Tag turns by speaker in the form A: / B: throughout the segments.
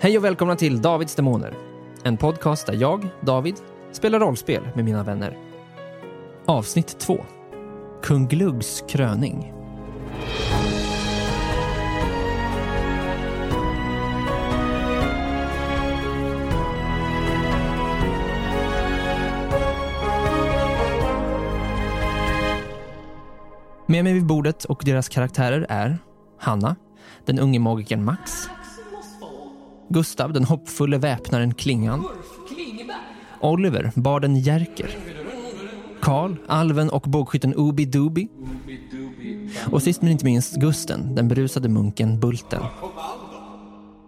A: Hej och välkomna till Davids Demoner. En podcast där jag, David, spelar rollspel med mina vänner. Avsnitt 2. Kung Gluggs kröning. Med mig vid bordet och deras karaktärer är Hanna, den unge magikern Max, Gustav, den hoppfulle väpnaren Klingan. Oliver, barden Jerker. Karl, alven och bågskytten Ubi Dubi. Och sist men inte minst Gusten, den berusade munken Bulten.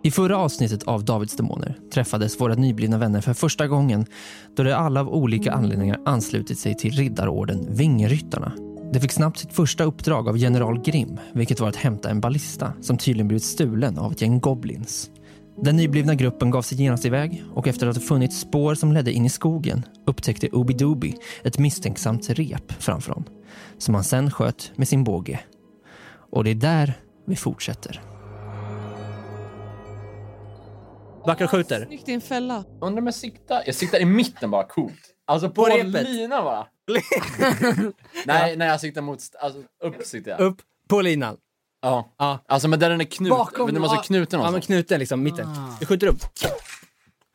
A: I förra avsnittet av Davids demoner träffades våra nyblivna vänner för första gången då de alla av olika anledningar anslutit sig till riddarorden Vingryttarna. De fick snabbt sitt första uppdrag av general Grimm, vilket var att hämta en ballista som tydligen blivit stulen av ett gäng goblins. Den nyblivna gruppen gav sig genast iväg och efter att ha funnit spår som ledde in i skogen upptäckte Obidobi ett misstänksamt rep framför dem som han sen sköt med sin båge. Och det är där vi fortsätter.
B: Backar och skjuter.
C: Snyggt i en fälla.
D: Undrar om jag siktar. Jag siktar i mitten bara, coolt. Alltså på,
B: repet.
D: linan bara. nej, nej, jag siktar mot... st- Alltså upp siktar jag.
B: Upp på linan.
D: Ja.
B: Ja.
D: Alltså men där den är knuten.
E: Bakom,
D: Bakom, du måste
E: ja.
D: knuta
B: Ja, men
D: någonstans.
B: knuten liksom, mitten. Du skjuter upp.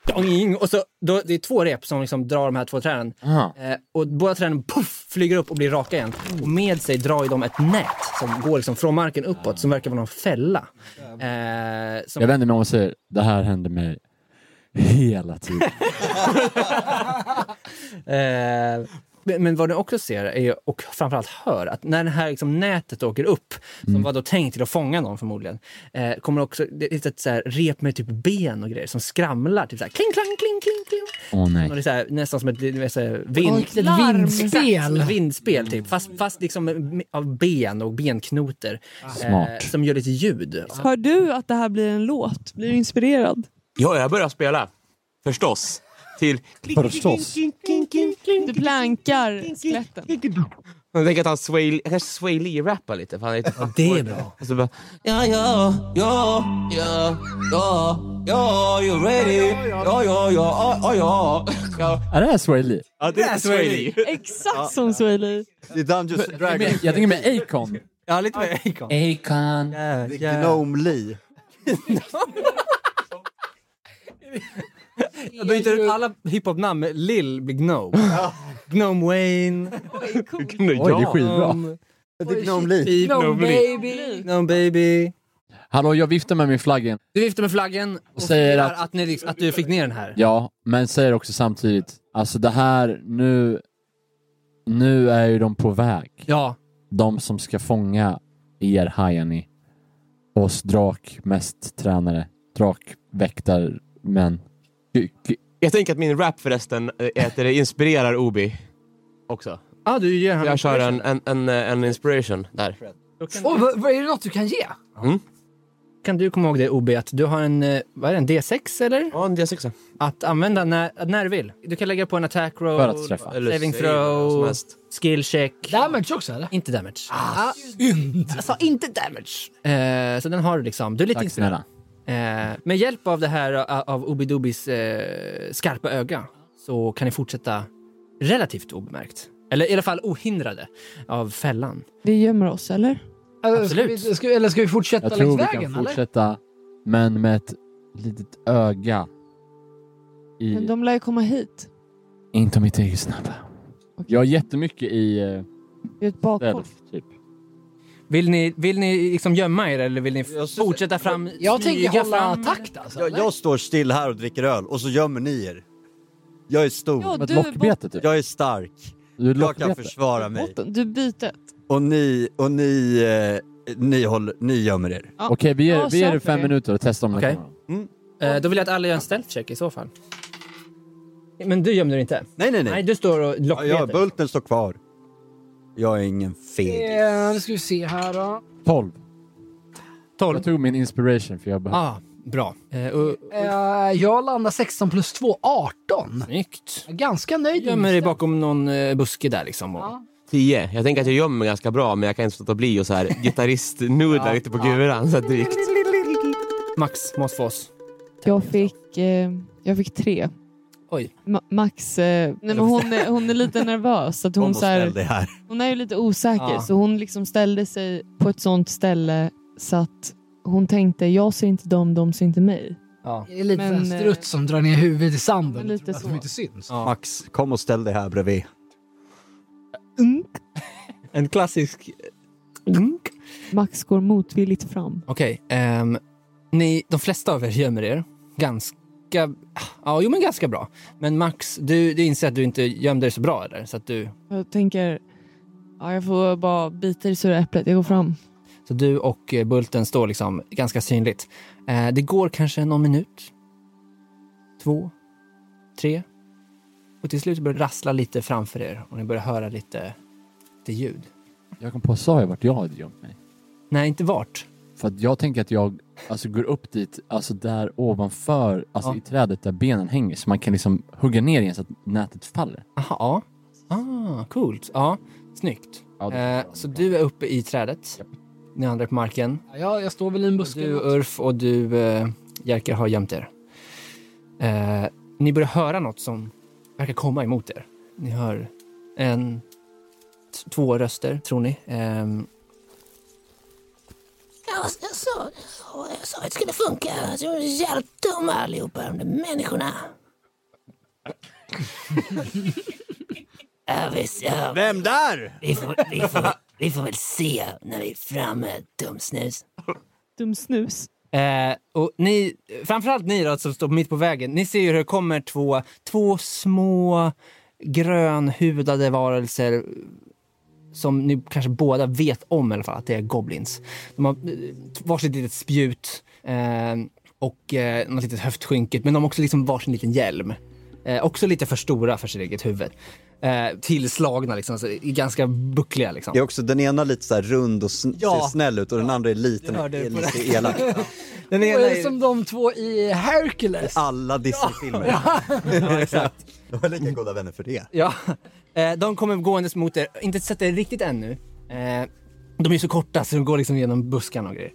B: Dong! Och så, då, det är två rep som liksom drar de här två träden.
D: Aha.
B: Eh, och båda träden puff, flyger upp och blir raka igen. Och med sig drar ju de ett nät som går liksom från marken uppåt som verkar vara någon fälla. Eh, som,
D: Jag vänder mig om och säger, det här händer mig hela tiden.
B: Eh, men- men vad du också ser är, ju- och framförallt hör, att när det här liksom nätet åker upp, som var då tänkt till att fånga någon förmodligen, eh, kommer också det är ett litet så här rep med typ ben och grejer som skramlar. Typ så här, kling, klang, kling, kling, kling.
D: Åh nej.
B: Och det är så här, nästan som ett, du vet, så här, vind,
E: Oj, ett vindspel.
B: Som ett vindspel, typ. fast, fast liksom med- av ben och benknoter. Eh,
D: Smart.
B: som gör lite ljud.
C: Hör du att det här blir en låt? Blir du inspirerad?
F: Ja, jag börjar spela. Förstås. Till...
D: Förstås.
C: Du blankar skeletten.
F: Jag tänker att han Sway, jag kanske Sway Lee-rappar lite. För han är inte fan
B: Det är bra.
F: och så bara... Ja, ja, ja, ja, ja, ja, you ready? Ja, ja, ja, ja, ja, ja. ja.
D: Är det här Sway Lee?
F: ja det är Sway Lee.
C: Exakt som Swahili.
G: Det är Dungeons and Dragons.
D: Jag tänker med Acon.
B: Ja, lite mer Acon.
D: Acon.
G: Det är Gnome Lee.
B: Jag byter ut alla hiphop-namn. med Lil blir Gnome. Gnome Wayne.
D: Oj, det är skitbra.
B: Gnome,
G: Det är Gnome Lee.
B: Pip, Gnome
E: baby.
B: Gnome Baby.
D: Hallå, jag viftar med min flaggen.
B: Du viftar med flaggen och
D: säger
B: säger
D: att-
B: att, att, ni, liksom- att du fick ner den här.
D: Ja, men säger också samtidigt, alltså det här nu... Nu är ju de på väg.
B: Ja.
D: de som ska fånga er hajar ni. Oss drakmästtränare, drakväktarmän. K- k-
F: Jag tänker att min rap förresten äh, är att det inspirerar Obi också.
B: Ah, du ger han
F: Jag kör en, en, en, eh, en inspiration där.
E: Och vad, vad är det något du kan ge?
B: Kan du komma ihåg det OB, att du har en, eh, vad är det, en D6 eller?
F: Ja, en D6.
B: Att använda när, när du vill. Du kan lägga på en attack roll,
D: För att träffa.
F: Eller
B: saving
F: save, vad som
B: throw,
F: helst.
B: skill check.
E: Damage också eller?
B: Inte damage. Ah, jag sa inte damage. Eh, så den har du liksom. Du är lite
D: Tack
B: inspirerad.
D: snälla.
B: Eh, med hjälp av det här eh, av Obidubis eh, skarpa öga så kan ni fortsätta relativt obemärkt. Eller i alla fall ohindrade av fällan.
C: Vi gömmer oss, eller?
E: Eller ska
B: Absolut.
E: Äh, vi, ska, eller ska vi fortsätta
D: Jag tror
E: längs
D: vi
E: vägen?
D: kan
E: eller?
D: fortsätta, men med ett litet öga.
C: Men
D: I,
C: de lär ju komma hit.
D: Inte om mitt eget snabba. Jag har jättemycket i eh,
C: Vi är ett bakhåll.
D: stealth, typ.
B: Vill ni, vill ni liksom gömma er eller vill ni
G: Jag sy-
B: fortsätta fram?
E: Jag
B: smyga
E: tänker hålla
B: fram?
E: takt alltså.
G: Jag,
E: eller?
G: jag står still här och dricker öl och så gömmer ni er. Jag är stor.
C: Ja,
D: Som ett
C: du är
D: lockbete typ.
G: Jag är stark.
D: Du är
G: Jag kan
D: lockbete.
G: försvara mig.
C: botten. Du är bytet.
G: Och ni, och ni, eh, ni, håller, ni gömmer er.
C: Ja.
D: Okej, vi ger,
C: Jag
D: vi ger er
C: köper
D: fem
C: det.
D: minuter och testar om
B: Okej.
D: det kommer.
B: Eh, då vill jag att alla gör en stealth check i så fall. Men du gömde dig inte?
G: Nej, nej,
B: Nej,
G: nej.
B: du står och
G: Ja, ja,
B: lockbeter.
G: bulten står kvar. Jag är ingen fegis.
E: Eh, nu ska vi se här då.
D: Tolv.
B: Tolv.
D: Jag tog min inspiration för jag behöver...
B: Ah, bra. Eh, och,
E: Eh, jag landar 16 plus 2, 18.
B: snyggt.
E: Jag är ganska nöjd.
B: Gömmer dig bakom någon eh, buske där liksom. Och,
E: Ja.
F: 10. Jag tänker att jag gömmer mig ganska bra men jag kan inte låta bli och så här gitarrist-nudla lite på guran så här drygt.
B: Max Måsfors.
C: Jag fick, eh, jag fick tre.
B: Oj.
C: Ma- Max, eh, nej, men hon, är, hon är lite nervös. Så att
G: Kom
C: hon,
G: och
C: så här,
G: ställ dig här.
C: hon är ju lite osäker
B: Ja.
C: så hon liksom ställde sig på ett sånt ställe så att hon tänkte jag ser inte dem, de ser inte mig.
B: Ja.
E: Det är lite
C: Men,
E: men, eh, strutt som drar ner huvudet i sanden. typ. Alltså,
C: lite
E: för att
C: så.
E: de inte syns.
B: Ja.
G: Max, kom och ställ dig här bredvid.
C: Mm.
B: En klassisk...
C: Max går motvilligt fram.
B: Okej. ehm, ni, de flesta av er gömmer er. Ganska... Ja, jo men ganska bra. Men Max, du, du inser att du inte gömde dig så bra eller? Så att du,
C: Jag tänker, ja, jag får bara bita i det sura äpplet. Jag går fram.
B: så du och eh, Bulten står liksom ganska synligt. Eh, det går kanske någon minut. Två. Tre. Och till slut börjar det rassla lite framför er och ni börjar höra lite, lite ljud.
D: Jag kom på, sa jag vart jag hade gömt mig?
B: Nej, inte vart.
D: För att jag tänker att jag alltså, går upp dit, alltså där ovanför, alltså
B: Ja.
D: i trädet där benen hänger. Så man kan liksom hugga ner igen så att nätet faller.
B: Aha, ja. Ah, coolt. Ja, snyggt.
D: Ja, det-
B: Eh, så du är uppe i trädet. Ni andra är på marken.
E: Ja, jag står väl i en buske.
B: Du Ulf och du eh, Jerker har gömt er. Eh, ni börjar höra något som verkar komma emot er. Ni hör en, t- två röster, tror ni. Ehm,
H: Jag, jag, sa, jag sa att det skulle funka. Alltså, jag är jävligt dumma allihopa, de där människorna. ja, visst, ja.
G: Vem där?
H: Vi, får, vi, får, vi får väl se när vi är framme, dumsnus.
C: Dum snus.
B: Eh, och ni, framförallt ni då, som står mitt på vägen, ni ser ju hur det kommer två, två små grönhudade varelser som ni kanske båda vet om i alla fall att det är goblins. De har eh, varsitt litet spjut eh, och eh, något litet höftskynket men de har också liksom varsin liten hjälm. Eh, också lite för stora för sitt eget huvud. Eh, tillslagna liksom, så ganska buckliga liksom.
G: Det är också den ena lite så här rund och sn-
B: Ja.
G: ser snäll ut och den andra är liten
B: Jag
G: och
B: hörde
G: är
B: på det.
G: lite elak.
B: Den
E: Och
B: ena
E: är
B: är-
E: det som de två i Hercules?
G: Alla Disney-filmer.
B: Ja, exakt.
G: De var lika goda vänner för det.
B: Ja, eh, de kommer gåendes mot er. Inte sett er riktigt ännu. Eh, de är ju så korta så de går liksom genom buskarna och grejer.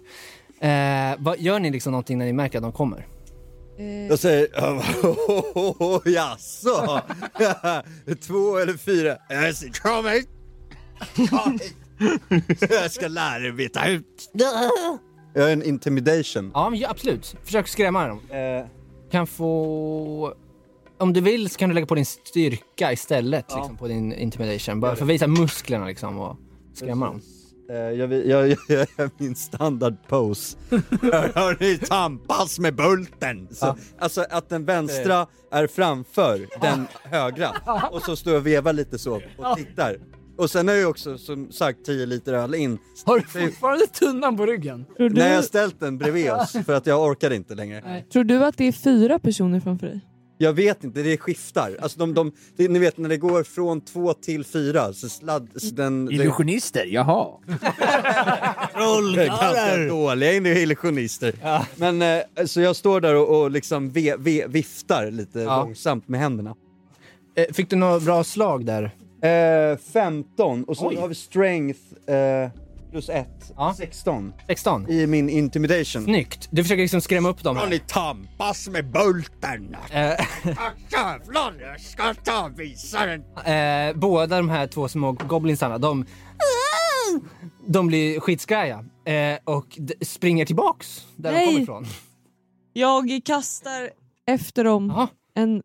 B: Eh, vad, gör ni liksom någonting när ni märker att de kommer?
C: Eh,
G: Jag säger, oh, jaså? Två eller fyra? Jag säger, kom hit! Kom hit! Jag ska lära er veta ut. Jag är en intimidation.
B: Ja, men, ja absolut. Försök skrämma dem. Eh, Kan få... Om du vill så kan du lägga på din styrka istället liksom, på din intimidation. Bara för att visa musklerna liksom och skrämma dem.
G: Eh, Jag, vill- jag, jag, jag gör min standardpose. Hörni, tampas med bulten! Så, Alltså att den vänstra är framför den högra och så står jag och vevar lite så och tittar. Och sen har jag också som sagt 10 liter öl in.
E: Har du fortfarande tunnan på ryggen?
C: tror,
G: När jag har
C: du,
G: ställt den bredvid oss för att jag orkar inte längre.
C: tror du att det är fyra personer framför dig?
G: Jag vet inte, det skiftar. Alltså de, de, det, ni vet när det går från två till fyra så sladd... Så den, det,
I: Illusionister, jaha.
G: Det är ganska dåliga in- illusionister. Men eh, så jag står där och, och liksom ve, ve, viftar lite
B: Ja.
G: långsamt med händerna.
B: Eh, fick du några bra slag där?
G: Eh, 15 och så
B: Oj.
G: har vi strength eh, plus 1,
B: Ja.
G: 16
B: 16?
G: i min intimidation.
B: Snyggt. Du försöker liksom skrämma upp dem. Här.
G: tampas med bulten!
B: Eh,
G: Jävlar, jag ska ta visa den!
B: Eh, båda de här två små goblinsarna, de, de blir skitskraja eh, och d- springer tillbaks där
C: Nej.
B: de kommer ifrån.
C: Jag kastar efter dem
B: Jaha.
C: en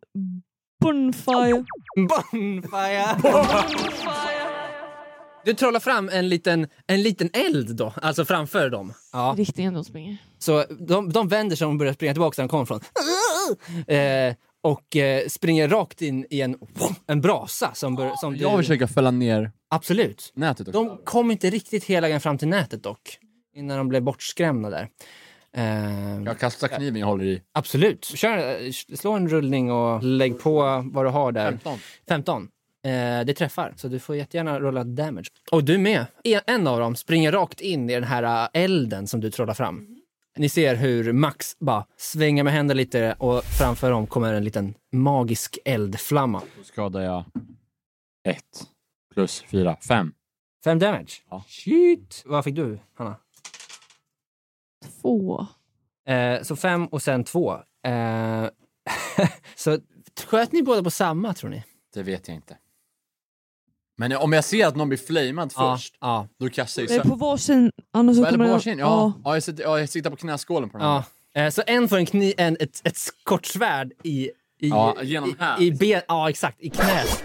C: bonfire.
B: Bonfire! Du trollar fram en liten, en liten eld då, alltså framför dem. Ja.
C: Riktningen de springer.
B: Så de, de vänder sig om och börjar springa tillbaka där de kom ifrån. Eh, och eh, springer rakt in i en, en brasa som, bör, som
D: Jag försöker fälla ner
B: Absolut.
D: nätet också.
B: De kom inte riktigt hela vägen fram till nätet dock. Innan de blev bortskrämda där. Eh,
D: Jag kastar kniven jag håller i.
B: Absolut. Kör, eh, slå en rullning och lägg på vad du har där.
D: 15.
B: 15. Eh, det träffar, så du får jättegärna rulla damage. Och du med. En- En av dem springer rakt in i den här eh, elden som du trollar fram. Ni ser hur Max bara svänger med händerna lite och framför dem kommer en liten magisk eldflamma.
D: Då skadar jag ett plus fyra, fem.
B: Fem damage.
D: Ja.
B: Shit! Vad fick du, Hanna?
C: Två.
B: Eh, så fem och sen två. Eh, så sköt ni båda på samma, tror ni?
D: Det vet jag inte. Men om jag ser att någon blir flamad först,
B: Ja.
D: då kastar jag
C: Nej,
D: ju
C: på varsin. Annars så
D: Eller
C: kommer
D: på
C: jag-
D: varsin? Ja. Ja, jag sitter- ja, jag siktar på knäskålen på den här.
B: ja. Eh, så en får en kni, en, ett, ett kort svärd i... i
D: Ja, genom här.
B: I, i ben, ja, exakt. I knät.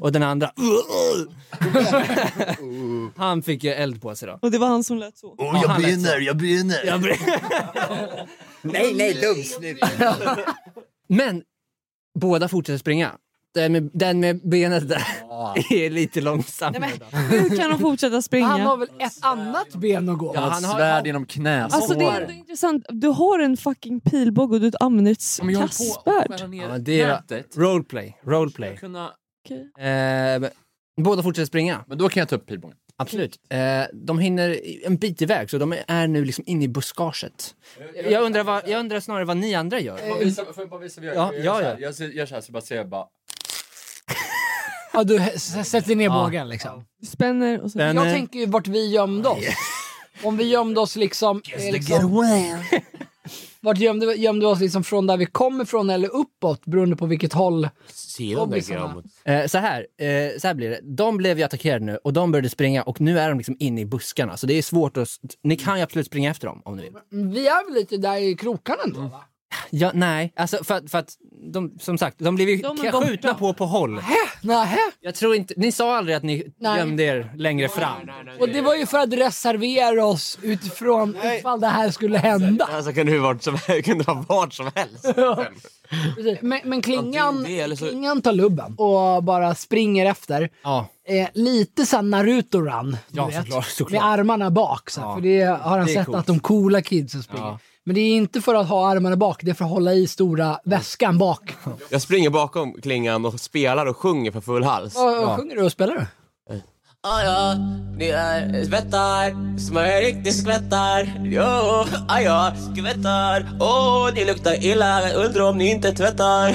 B: Och den andra... Han fick ju eld på sig då.
C: Och det var han som lät så.
B: Oh, jag brinner, jag brinner! Jag brinner.
G: Nej, nej, dumsnut!
B: Men båda fortsätter springa. Den med, den med benet där är lite långsammare.
C: Nej, men, hur kan de fortsätta springa?
E: Han har väl ett annat ben att gå
B: Ja,
D: Han har
B: han
D: ett
B: har-
D: svärd genom knäskålen.
C: Alltså det är ändå intressant. Du har en fucking pilbåge och du använder ett
D: Om jag håller på att
C: kastspärd.
D: skära ner
B: Ja, men det är-
D: nätet,
B: Roleplay, roleplay.
D: kunna...
C: Okej.
B: Eh, båda fortsätter springa,
D: Men då kan jag ta upp pilbågen.
B: absolut. Eh, de hinner en bit iväg, så de är nu liksom inne i buskaget. Jag undrar, vad, jag undrar snarare vad ni andra gör.
D: Får jag visa- får jag bara visa vad jag
B: Ja,
D: gör?
B: ja,
D: Jag gör
B: ja.
D: så här. Jag ser- gör så här så bara ser jag bara...
E: Ja, du hä- s- sätter ner bågen liksom.
C: Du spänner och så...
B: Den-
E: Jag
B: Nej.
E: tänker ju vart vi gömde oss. Om vi gömde oss liksom... eh, liksom vart gömde, vi- gömde vi oss liksom från där vi kommer ifrån eller uppåt beroende på vilket håll.
I: Se
E: Då
I: de
E: blir
I: där
E: såna-
I: grabbarna.
B: Eh, så, här, eh, så här blir det. De blev ju attackerade nu och de började springa och nu är de liksom inne i buskarna. Så det är svårt att... Ni kan ju absolut springa efter dem om ni vill.
E: Vi är väl lite där i krokarna ändå va?
B: Ja, nej, alltså för, att- för att de, som sagt, de blev ju
C: De är borta.
B: skjutna på på håll.
E: Nähä.
B: Jag tror inte, ni sa aldrig att ni
E: Nej.
B: gömde er längre fram.
E: Och det var ju för att reservera oss utifrån ifall det här skulle hända.
I: Alltså kunde ha vart som, kunde ha vart som helst.
E: Precis. Men, men klingan,
I: Antingen det eller så-
E: klingan tar lubben och bara springer efter.
B: Ja,
E: Eh, lite sån Naruto-run. du
B: ja
E: vet.
B: såklart. såklart.
E: Med armarna bak. Så, här,
B: Ja.
E: För det har han
B: Det är
E: sett
B: coolt.
E: att de coola kidsen springer.
B: Ja.
E: Men det är inte för att ha armarna bak, det är för att hålla i stora väskan bak.
I: Jag springer bakom klingan och spelar och sjunger för full hals.
E: Och, och Sjunger du och spelar du?
I: Ah, ja, det är skvättar som är riktigt skvättar. Jo, ah, ja, skvättar. Åh, oh, det luktar illa. Undrar om ni inte tvättar.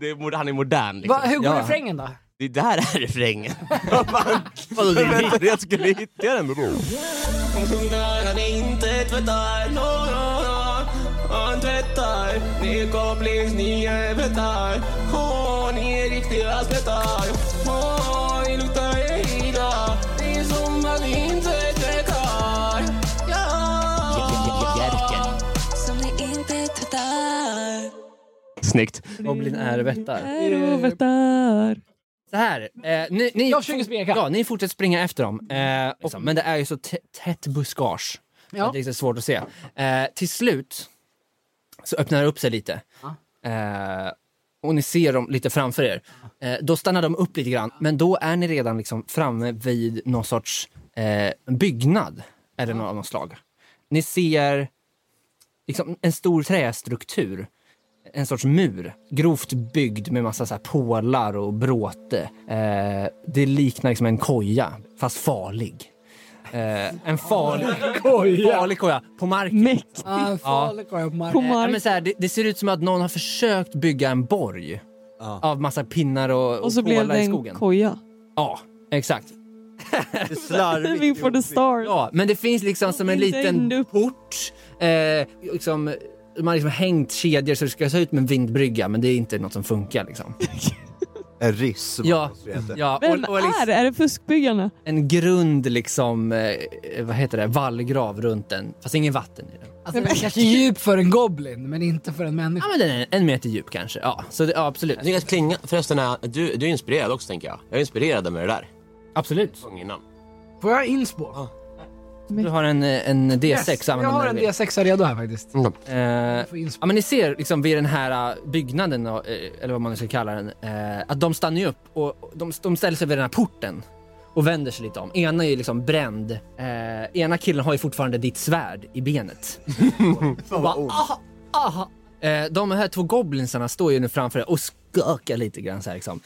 I: Det är, mod- han är modern liksom.
E: Va, hur går
B: Ja.
E: refrängen då?
I: Det där är refrängen. Vadå det är Vänta, jag skulle hitta den bror. Hon sjunger han inte tvättar. No, no, no. Han tvättar. Ni är kopplings, ni är tvättar. Åh, ni är riktiga tvättar. Åh, ni luktar illa. Det är som att ni inte tvättar. Ja! Jerken.
J: Som ni inte tvättar.
I: Snyggt.
B: Goblin är vättar.
C: Är och vättar.
B: Så här, eh, ni, ni,
E: Jag försöker springa ikapp.
B: ja, ni fortsätter springa efter dem. Eh, och, men det är ju så tä- tätt buskage.
E: Ja.
B: att Det är så svårt att se. Eh, till slut så öppnar det upp sig lite. Eh, och ni ser dem lite framför er. Eh, då stannar de upp lite grann, men då är ni redan liksom framme vid någon sorts eh, byggnad. Eller något av något slag. Ni ser liksom en stor trästruktur. En sorts mur, grovt byggd med massa så här pålar och bråte. Eh, det liknar liksom en koja, fast farlig. Eh, en farlig koja. farlig koja på marken.
C: Mäktigt
E: Ah, farlig går jag på
C: på
E: marken.
B: Ja, men
C: mark.
B: så här, det, det ser ut som att någon har försökt bygga en borg av massa pinnar och,
C: Och så blev
B: pålar
C: det
B: i
C: en
B: skogen.
C: koja.
B: ja, exakt.
G: Det är slarvigt.
C: Living for the stars.
B: Ja, men det finns liksom som en
C: Inte
B: liten
C: ännu upp.
B: port. Eh, liksom, man har liksom hängt kedjor så det ska se ut som en vindbrygga, men det är inte något som funkar. Liksom.
G: En riss.
B: Ja, ja,
C: Vem
B: och, och liksom,
C: är det? Är det fuskbyggarna?
B: en grund, liksom, eh, vad heter det, vallgrav runt den. Fast ingen vatten i den.
E: Alltså, den är kanske djup för en goblin, men inte för en
B: Ja,
E: människa.
B: men den är en meter djup kanske. Ja, så det, ja, absolut.
I: Jag tycker att klingan, förresten, är, du, du är inspirerad också tänker jag. Jag är inspirerad med det där.
B: Absolut.
I: Gång innan.
E: Får jag inspo?
B: Du har en, eh, en D6
E: Yes, jag
B: använder
E: har
B: när
E: en
B: du
E: D6 redo här faktiskt.
I: Mm.
B: vill. Eh,
E: Jag får inspo.
B: Ja, men ni ser liksom vid den här eh, byggnaden, eh, eller vad man nu ska kalla den, eh, att de stannar ju upp och och de, de ställer sig vid den här porten och vänder sig lite om. Ena är ju liksom bränd. Eh, ena killen har ju fortfarande ditt svärd i benet. och bara, aha, aha. Eh, de här två goblinsarna står ju nu framför er och skakar lite grann så här liksom.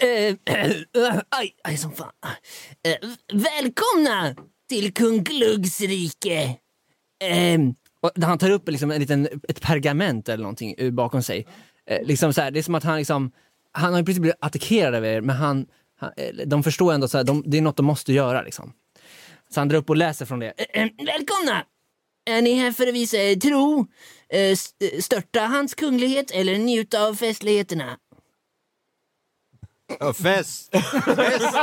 B: Eh, aj, aj som fan. Eh, välkomna till kung Gluggs rike. Ehm, och där han tar upp liksom en liten, ett pergament eller någonting ur bakom sig. Eh, liksom så här, det är som att han liksom, han har ju precis blivit attackerad av er men han, han eh, de förstår ändå så här, de, det är något de måste göra liksom. Så han drar upp och läser från det. Eh, eh, välkomna!
H: Är ni här för att visa er tro, eh, s- eh, störta hans kunglighet eller njuta av festligheterna?
G: Ja, fest! Fest!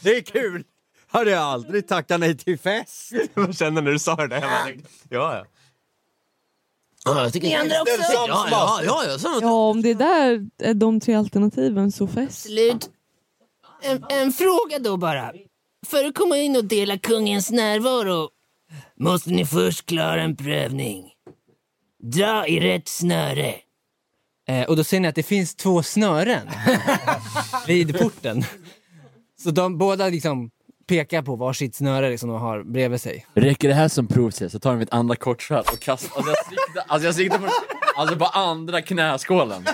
G: Det är kul! Hade jag aldrig tackat nej till fest.
I: Jag känner när du sa det där. Jag bara tänkte, Ja,
F: Ja,
I: ja.
F: jag
H: Ni andra också?
F: Ja, ja, ja, ja. Så.
C: Ja, om det där är de tre alternativen så fest.
H: Slut. En, en fråga då bara. För att komma in och dela kungens närvaro måste ni först klara en prövning. Dra i rätt snöre.
B: Eh, och då ser ni att det finns två snören vid porten. Så de båda liksom pekar på varsitt snöre liksom de har bredvid sig.
D: Räcker det här som prov så jag tar jag mitt andra kortsvärd och kastar, alltså jag siktar, alltså jag siktar på, alltså på andra knäskålen.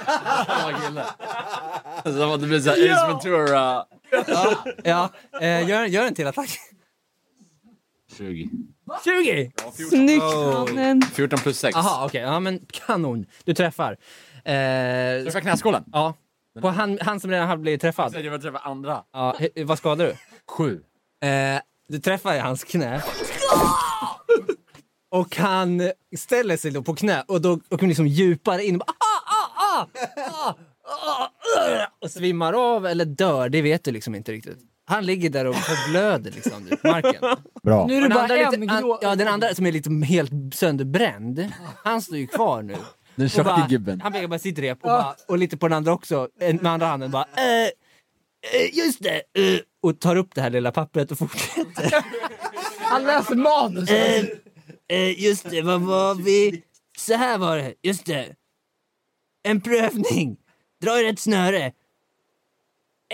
D: Samma kille. Alltså som uh, att det blir såhär Ace Ventura.
B: Ja, eh, gör, gör en till attack.
D: 20.
B: 20!
C: Snyggt mannen!
D: 14 plus 6.
B: Aha, okej. Ja, men kanon. Du träffar. Eh,
D: Träffar knäskålen.
B: ja. På han, han som redan har blivit träffad.
D: Jag vill träffa andra.
B: Ja, he- vad skadar du?
D: 7.
B: Eh, du träffar i hans knä. Och han ställer sig då på knä och då och liksom djupare in. Bara, Ah, ah, ah, ah, ah, ah, och svimmar av eller dör, det vet du liksom inte riktigt. Han ligger där och blöder liksom nu på marken.
D: Bra.
E: Nu är det
B: Den
E: bara
B: andra, är
E: en
B: lite, an,
E: grå...
B: ja, den andra som är liksom helt sönderbränd, han står ju kvar nu.
D: Den
B: Och
D: tjocka
B: bara,
D: gubben.
B: han pekar på sitt rep och, bara, och lite på den andra också, en- med andra handen bara eh, eh, just det, eh, och tar upp det här lilla pappret och fortsätter.
E: Han läser manus.
H: Eh, eh, just det, vad var vi? Så här var det, just det. En prövning. Dra i rätt snöre.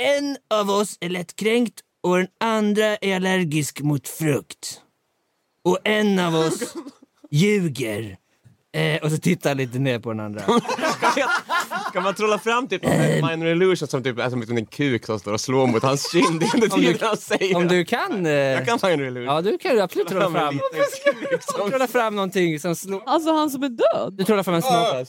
H: En av oss är lättkränkt och den andra är allergisk mot frukt. Och en av oss ljuger.
B: Eh, och så tittar han lite ner på den andra.
I: Kan man trolla fram
D: Eh.
I: typ minor illusion som typ är som en kuk som står och slår mot hans kind under tiden han säger
B: Om
I: det?
B: du kan... Eh,
I: Jag kan minor illusion.
B: Ja, du kan ju absolut trolla
I: Fram en
B: fram.
I: liten kuk som-
B: Trolla fram någonting som slår...
C: Alltså han som är död.
B: Du trollar fram en snabel.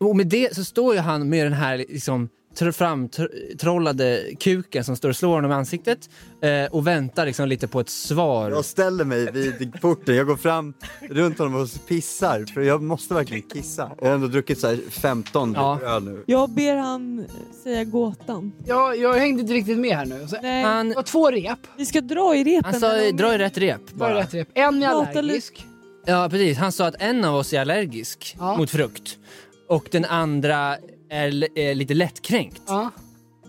B: Och med det så står ju han med den här liksom tr- framtrollade kuken som står och slår honom i ansiktet eh, och väntar liksom lite på ett svar.
G: Jag ställer mig vid porten, jag går fram runt honom och pissar för jag måste verkligen kissa. Jag har ändå druckit så här 15
B: Ja.
G: öl nu.
C: Jag ber han eh, säga gåtan.
E: Jag, jag hängde inte riktigt med här nu. Så, det
C: Nej,
B: Han,
E: var två rep.
C: vi ska dra i repen.
B: han sa
C: men om-
B: dra i rätt rep
E: Var det
B: bara.
E: rätt rep? En är
C: Låta
E: allergisk.
B: Ja, precis. Han sa att en av oss är allergisk
E: Ja.
B: mot frukt och den andra är, l- är lite lättkränkt.
E: Ja,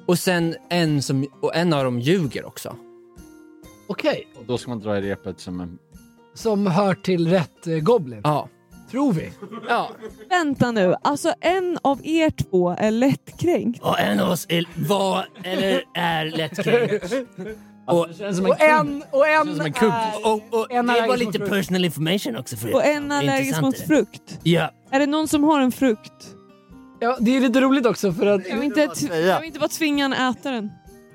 B: Och sen en, som, och en av dem ljuger också.
E: okej.
D: Och då ska man dra i repet som en...
E: Som hör till rätt eh, Goblin.
B: Ja.
E: Tror vi.
B: ja.
C: Vänta nu, alltså en av er två är lättkränkt.
H: Och en av oss är, var eller är lättkränkt.
D: Alltså, det känns som en
E: Och en, och en,
D: som en kugg.
E: är...
H: Och, och det
E: En
H: var
E: allergisk
H: lite
E: mot frukt.
H: personal information också förut.
C: Och en
H: Det är
C: allergisk
H: intressant,
C: mot
H: det där.
C: frukt.
H: Ja.
C: Är det någon som har en frukt?
E: Ja, det är lite roligt också för att
C: Jag vill inte, tv- jag vill inte vara tvingad att äta den.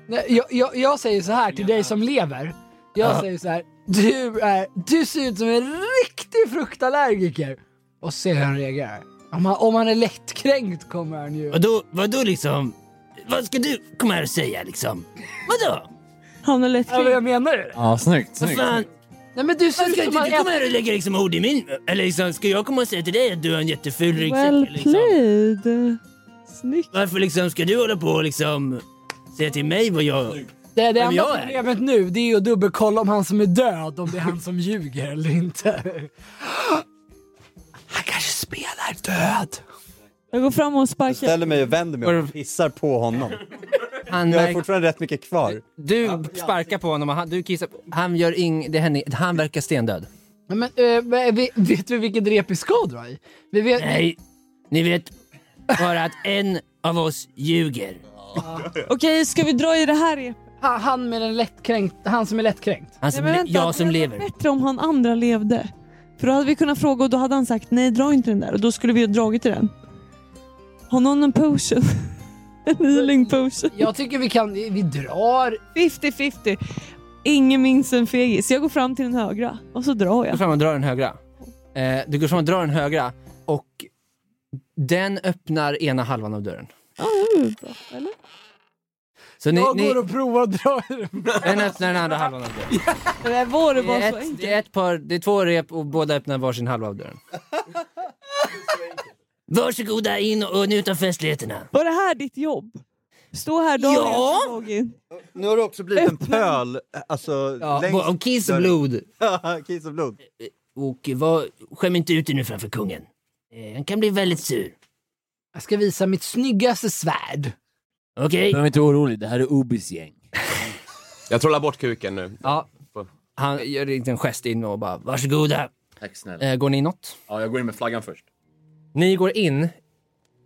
E: Nej, jag, jag, jag säger så här till dig som lever. Jag säger så här. Du, är, du ser ut som en riktig fruktallergiker. Och se hur han reagerar. Om han, om han är lättkränkt kommer han ju...
H: Vadå, vadå liksom? Vad ska du komma här och säga liksom? Vadå?
C: Han är
E: Ja, men
C: lättkränkt.
E: jag menar det.
D: Ja, snyggt.
H: Vad
D: snyggt.
H: fan?
E: Nej men du ser
H: Vad
E: ut
H: ska
E: som
H: du,
E: han
H: du komma
E: är...
H: här och lägga liksom ord i min Eller liksom, ska jag komma och säga till dig att du har en jätteful ryggsäck? eller
C: Well
H: liksom,
C: played. Snyggt.
H: varför liksom ska du hålla på och liksom säga till mig vad jag...
E: Det, det enda
H: jag är.
E: problemet nu det är ju att dubbelkolla om han som är död, om det är han som ljuger eller inte. Han kanske spelar död.
C: Jag går fram och
G: Jag
C: sparkar.
G: ställer mig och vänder mig och pissar på honom.
B: Han
G: Jag har
B: märker,
G: fortfarande rätt mycket kvar.
B: du sparkar på honom och han, du kissar. på- Han gör ing, det händer, han verkar stendöd.
E: Nej, men eh, vi, vet vi vilket rep vi ska dra i? Vi vet,
H: Nej, ni vet bara att en av oss ljuger.
C: Okej, ska vi dra i det här repet?
E: han, han med den lättkränkt, han som är lättkränkt.
H: Han
C: Nej,
H: som,
C: men vänta,
H: jag
C: det
H: som
C: hade
H: lever.
C: varit bättre om han andra levde. För då hade vi kunnat fråga och då hade han sagt nej, dra inte den där. Och då skulle vi ha dragit i den. Har någon en potion? en healing potion?
E: Jag tycker vi kan, vi drar.
C: 50-50. Ingen minns en fegis. Jag går fram till den högra och så drar
B: Du går
C: jag.
B: fram och drar den högra. Eh, du går fram och drar den högra och den öppnar ena halvan av dörren.
C: Ja, det är väl bra, eller?
B: Så ni,
E: jag
B: ni,
E: går och provar att dra i den.
B: en öppnar den andra halvan av dörren.
C: Det där var det
B: Det
C: bara
B: är,
C: så
B: ett,
C: enkelt.
B: det, är ett par, det är två rep och båda öppnar varsin halva av dörren.
H: Varsågoda in och njut av festligheterna.
C: Var det här ditt jobb? Stå här dagen
H: Ja.
C: efter dagen.
G: Nu har det också blivit en pöl, alltså
H: Ja,
G: längst...
H: och kiss och blod.
G: Kiss och blod.
H: Och var, skäm inte ut dig nu framför kungen. Eh, han kan bli väldigt sur.
E: Jag ska visa mitt snyggaste svärd.
H: Okej?
D: Behöver inte orolig, det här är Obis gäng.
I: Jag trollar bort kuken nu.
B: Ja. Han gör en liten gest in och bara... "Varsågod."
H: Varsågoda.
D: Tack snälla.
B: Eh, går ni inåt?
D: Ja, jag går in med flaggan först.
B: Ni går in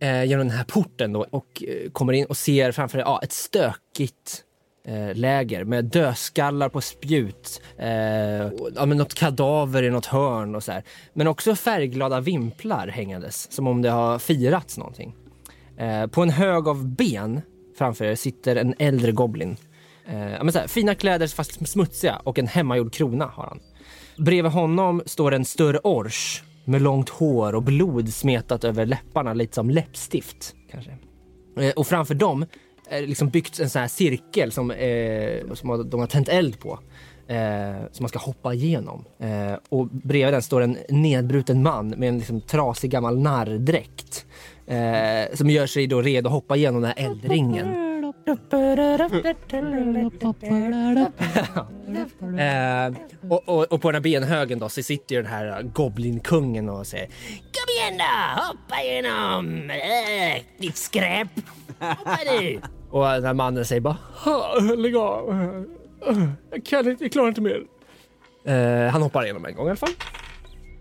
B: eh, genom den här porten då, och eh, kommer in och ser framför er ja, ett stökigt eh, läger med dödskallar på spjut, eh, och, ja, men något kadaver i något hörn och så här. Men också färgglada vimplar hängandes, som om det har firats någonting. Eh, på en hög av ben framför er sitter en äldre goblin. Eh, ja, men så här, fina kläder fast smutsiga och en hemmagjord krona har han. Bredvid honom står en större ors med långt hår och blod smetat över läpparna, lite som läppstift. Kanske. Eh, Och framför dem är det liksom byggt en sån här cirkel som, eh, som har- de har tänt eld på. Eh, som man ska hoppa igenom. Eh, och bredvid den står en nedbruten man med en liksom trasig gammal narrdräkt. Eh, som gör sig då redo att hoppa igenom den här eldringen. Eh, och, och, och på den här benhögen då så sitter ju den här eh, goblinkungen och säger
H: Kom igen då! Hoppa igenom!
B: eh,
H: Äh, ditt skräp! Hoppa nu!
B: Och den här mannen säger bara "Ha, Lägg av. Jag kan inte, jag klarar inte mer. Eh, han hoppar igenom en gång i alla fall.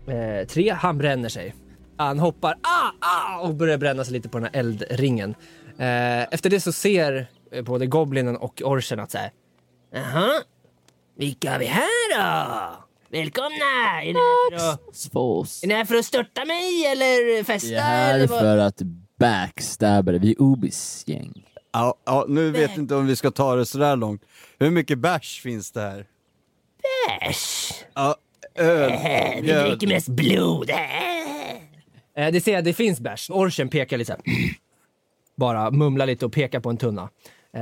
B: Eh, tre, han bränner sig. Han hoppar ah, ah, och börjar bränna sig lite på den här eldringen. Eh, efter det så ser eh, både goblinen och orchen att så här,
H: Jaha. Vilka har vi här då? Välkomna! Är ni här för att,
D: Svås.
H: är ni här för att störta mig eller festa?
D: Vi är här
H: eller vad?
D: för att backstabba dig. Vi är Obis gäng.
G: Ja, ja, nu vet jag inte om vi ska ta det sådär långt. Hur mycket bärs finns det här?
H: Äsch,
G: Ja, öl,
H: äh, Vi
G: mjöd.
H: dricker mest blod. Äh.
B: Eh, det ser jag, det finns bärs. Orchen pekar lite så här. Bara mumlar lite och pekar på en tunna. Eh,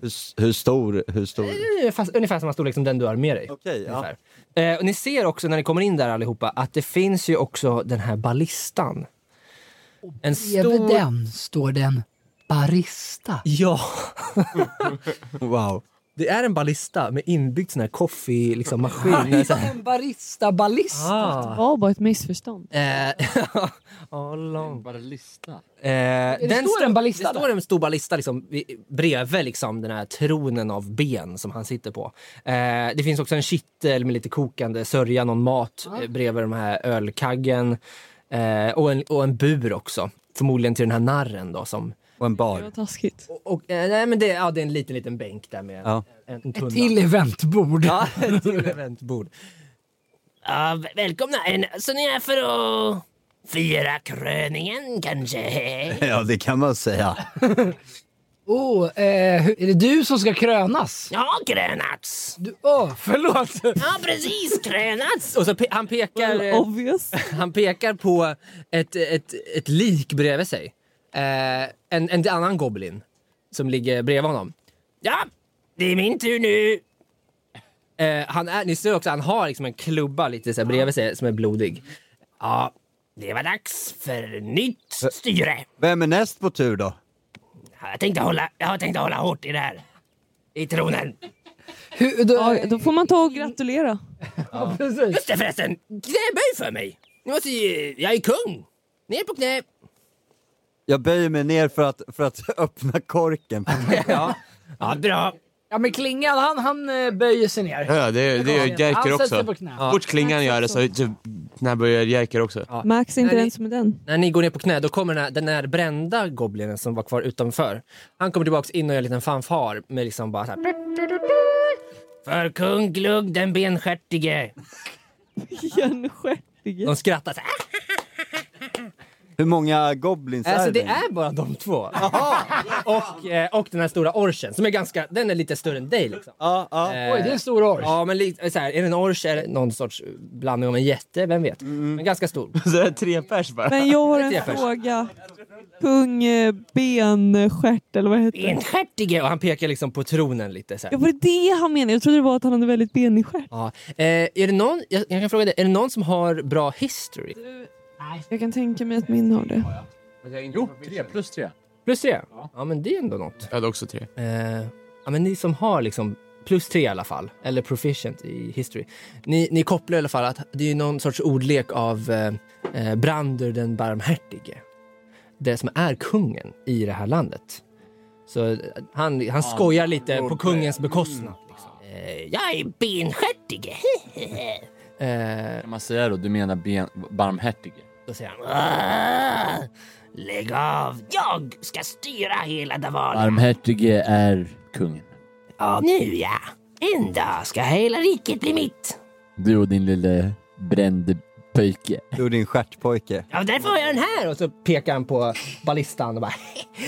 G: Hur, s- hur stor? Hur stor?
B: Ungefär, ungefär samma storlek som den du har med dig.
G: Okej, ja.
B: Ungefär. Eh, och ni ser också när ni kommer in där allihopa att det finns ju också den här ballistan. En
E: Bredvid
B: stor...
E: den står den barista.
B: Ja,
G: Wow.
B: det är en ballista med inbyggd sån här coffee-maskin. Liksom, maskin. Så här- Ah.
E: En barista ballista.
C: Det var bara ett missförstånd.
B: Eh, all along.
D: Bara lista.
B: Eh, den
E: står en
B: stå-
E: ballista
B: Det
E: där?
B: står en stor ballista liksom, vid- bredvid liksom, den här tronen av ben som han sitter på. Eh, det finns också en kittel med lite kokande sörja, någon mat eh, bredvid de här ölkaggen. Eh, och, en, och en bur också, förmodligen till den här narren. Då, som,
G: Och en
C: Det var
G: bar.
C: taskigt.
B: och, och, eh, nej, men det, ja, det är en liten, liten bänk där med
G: Ja.
B: en, en tunna.
E: Ett till eventbord.
B: Ja, ett till eventbord.
H: Ja, v- välkomna! Är ni- Så ni är här för att fira kröningen kanske?
G: Ja, det kan man säga.
E: Oh, eh, hur- är det du som ska krönas?
H: Ja, krönats!
E: Du, åh, förlåt!
H: Ja, precis! Krönats!
B: Och så pe- han pekar... eh,
C: Obvious.
B: Han pekar på ett, ett, ett lik bredvid sig. Eh, en, en annan goblin som ligger bredvid honom.
H: Ja, det är min tur nu.
B: Eh, han är, ni ser också, han har liksom en klubba lite så här bredvid sig som är blodig.
H: Ja, det var dags för nytt styre.
G: Vem är näst på tur då?
H: Ja, Jag tänkte hålla, jag har tänkt hålla hårt i det här. I tronen.
E: Hur, du,
C: Ja, då får man ta och gratulera.
E: ja, precis.
H: Just det förresten, knäböj för mig. Ni måste ju, jag är kung. Ner på knä.
G: Jag böjer mig ner för att, för att öppna korken.
H: Ja, bra.
E: Ja, men Klingan han, han eh, böjer sig ner.
I: Ja, det, det gör Jerker
E: Han sätter sig
I: också.
E: på knä.
I: Så fort klingan gör det så när börjar Jerker också.
C: Max är inte
B: Nej,
C: ens med den.
B: När ni går ner på knä då kommer den här, den här brända goblinen som var kvar utanför. Han kommer tillbaks in och gör en liten fanfar med liksom bara så här.
H: För kung Glugg den benskärtige.
C: Hjärnskärtige.
B: De skrattar så här.
G: Hur många goblins
B: Alltså
G: är
B: det är bara de två. och, eh, och den här stora orchen som är ganska, den är lite större än dig liksom.
G: Ja, ja.
E: Oj, det är en stor ors.
B: Ja, men lite, så här, är det en orch eller någon sorts Mm. blandning av en jätte? Vem vet? Men ganska stor.
I: Så det är tre pers bara.
C: Men jag har
B: Det är
C: en
B: först.
C: fråga. Pung, eh, ben, stjärt eller vad heter det?
B: Benskärtige! Och han pekar liksom på tronen lite så här.
C: Ja, var det det han menade? Jag trodde det var att han hade väldigt benig stjärt.
B: Ja. Eh, är det någon, jag, jag kan fråga dig, är det någon som har bra history?
C: Jag kan tänka mig att min har det.
D: Jo, tre plus tre.
B: Plus tre? Ja, men det är ändå något.
I: Jag hade också tre.
B: Eh, ja, men ni som har liksom plus tre i alla fall, eller proficient i history. Ni, ni kopplar i alla fall att det är någon sorts ordlek av eh, eh, Brander den barmhärtige. Det som är kungen i det här landet. Så eh, han, han skojar lite på kungens bekostnad. Liksom. Eh, jag är benskärtige. eh,
D: Kan man säga då, du menar ben, barmhärtige?
B: då säger han... "Ah, Lägg av! Jag ska styra hela Davala!
D: Barmhärtige är kungen.
B: Ja, nu ja! En dag ska hela riket bli mitt!
D: Du och din lille brände pöjke.
G: Du och din stjärtpojke.
B: Ja, därför har jag den här! Och så pekar han på ballistan och bara...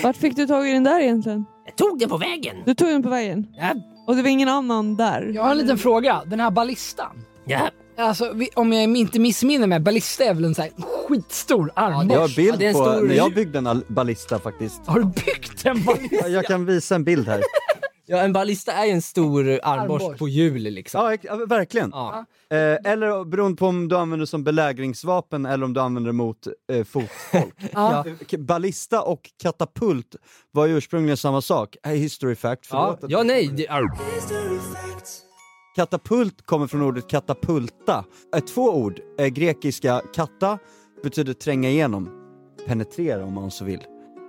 C: Vart fick du tag i den där egentligen?
B: Jag tog den på vägen!
C: Du tog den på vägen?
B: Ja.
C: Och det var ingen annan där?
E: Jag har en liten fråga. Den här ballistan.
B: Ja,
E: Alltså, vi, om jag inte missminner mig, ballista är väl en så här skitstor
G: Jag
E: armborst?
G: har bild
B: Ja, det är en
G: på,
B: stor-
G: när jag byggde en al- ballista faktiskt.
E: Har du byggt en ballista?
G: Ja, Jag kan visa en bild här.
B: ja en ballista är ju en stor armborst
E: Armborst.
B: på hjul liksom.
G: Ja, ek- ja verkligen.
B: Ja.
G: Eh, eller beroende på om du använder det som belägringsvapen eller om du använder det mot eh, fotfolk.
E: Ja.
G: K- Ballista och katapult var ju ursprungligen samma sak. Eh, History fact,
B: Ja,
G: förlåt.
B: ja, nej. Det, arr.
G: Katapult kommer från ordet katapulta. Eh, två ord. Eh, grekiska kata betyder tränga igenom, penetrera om man så vill.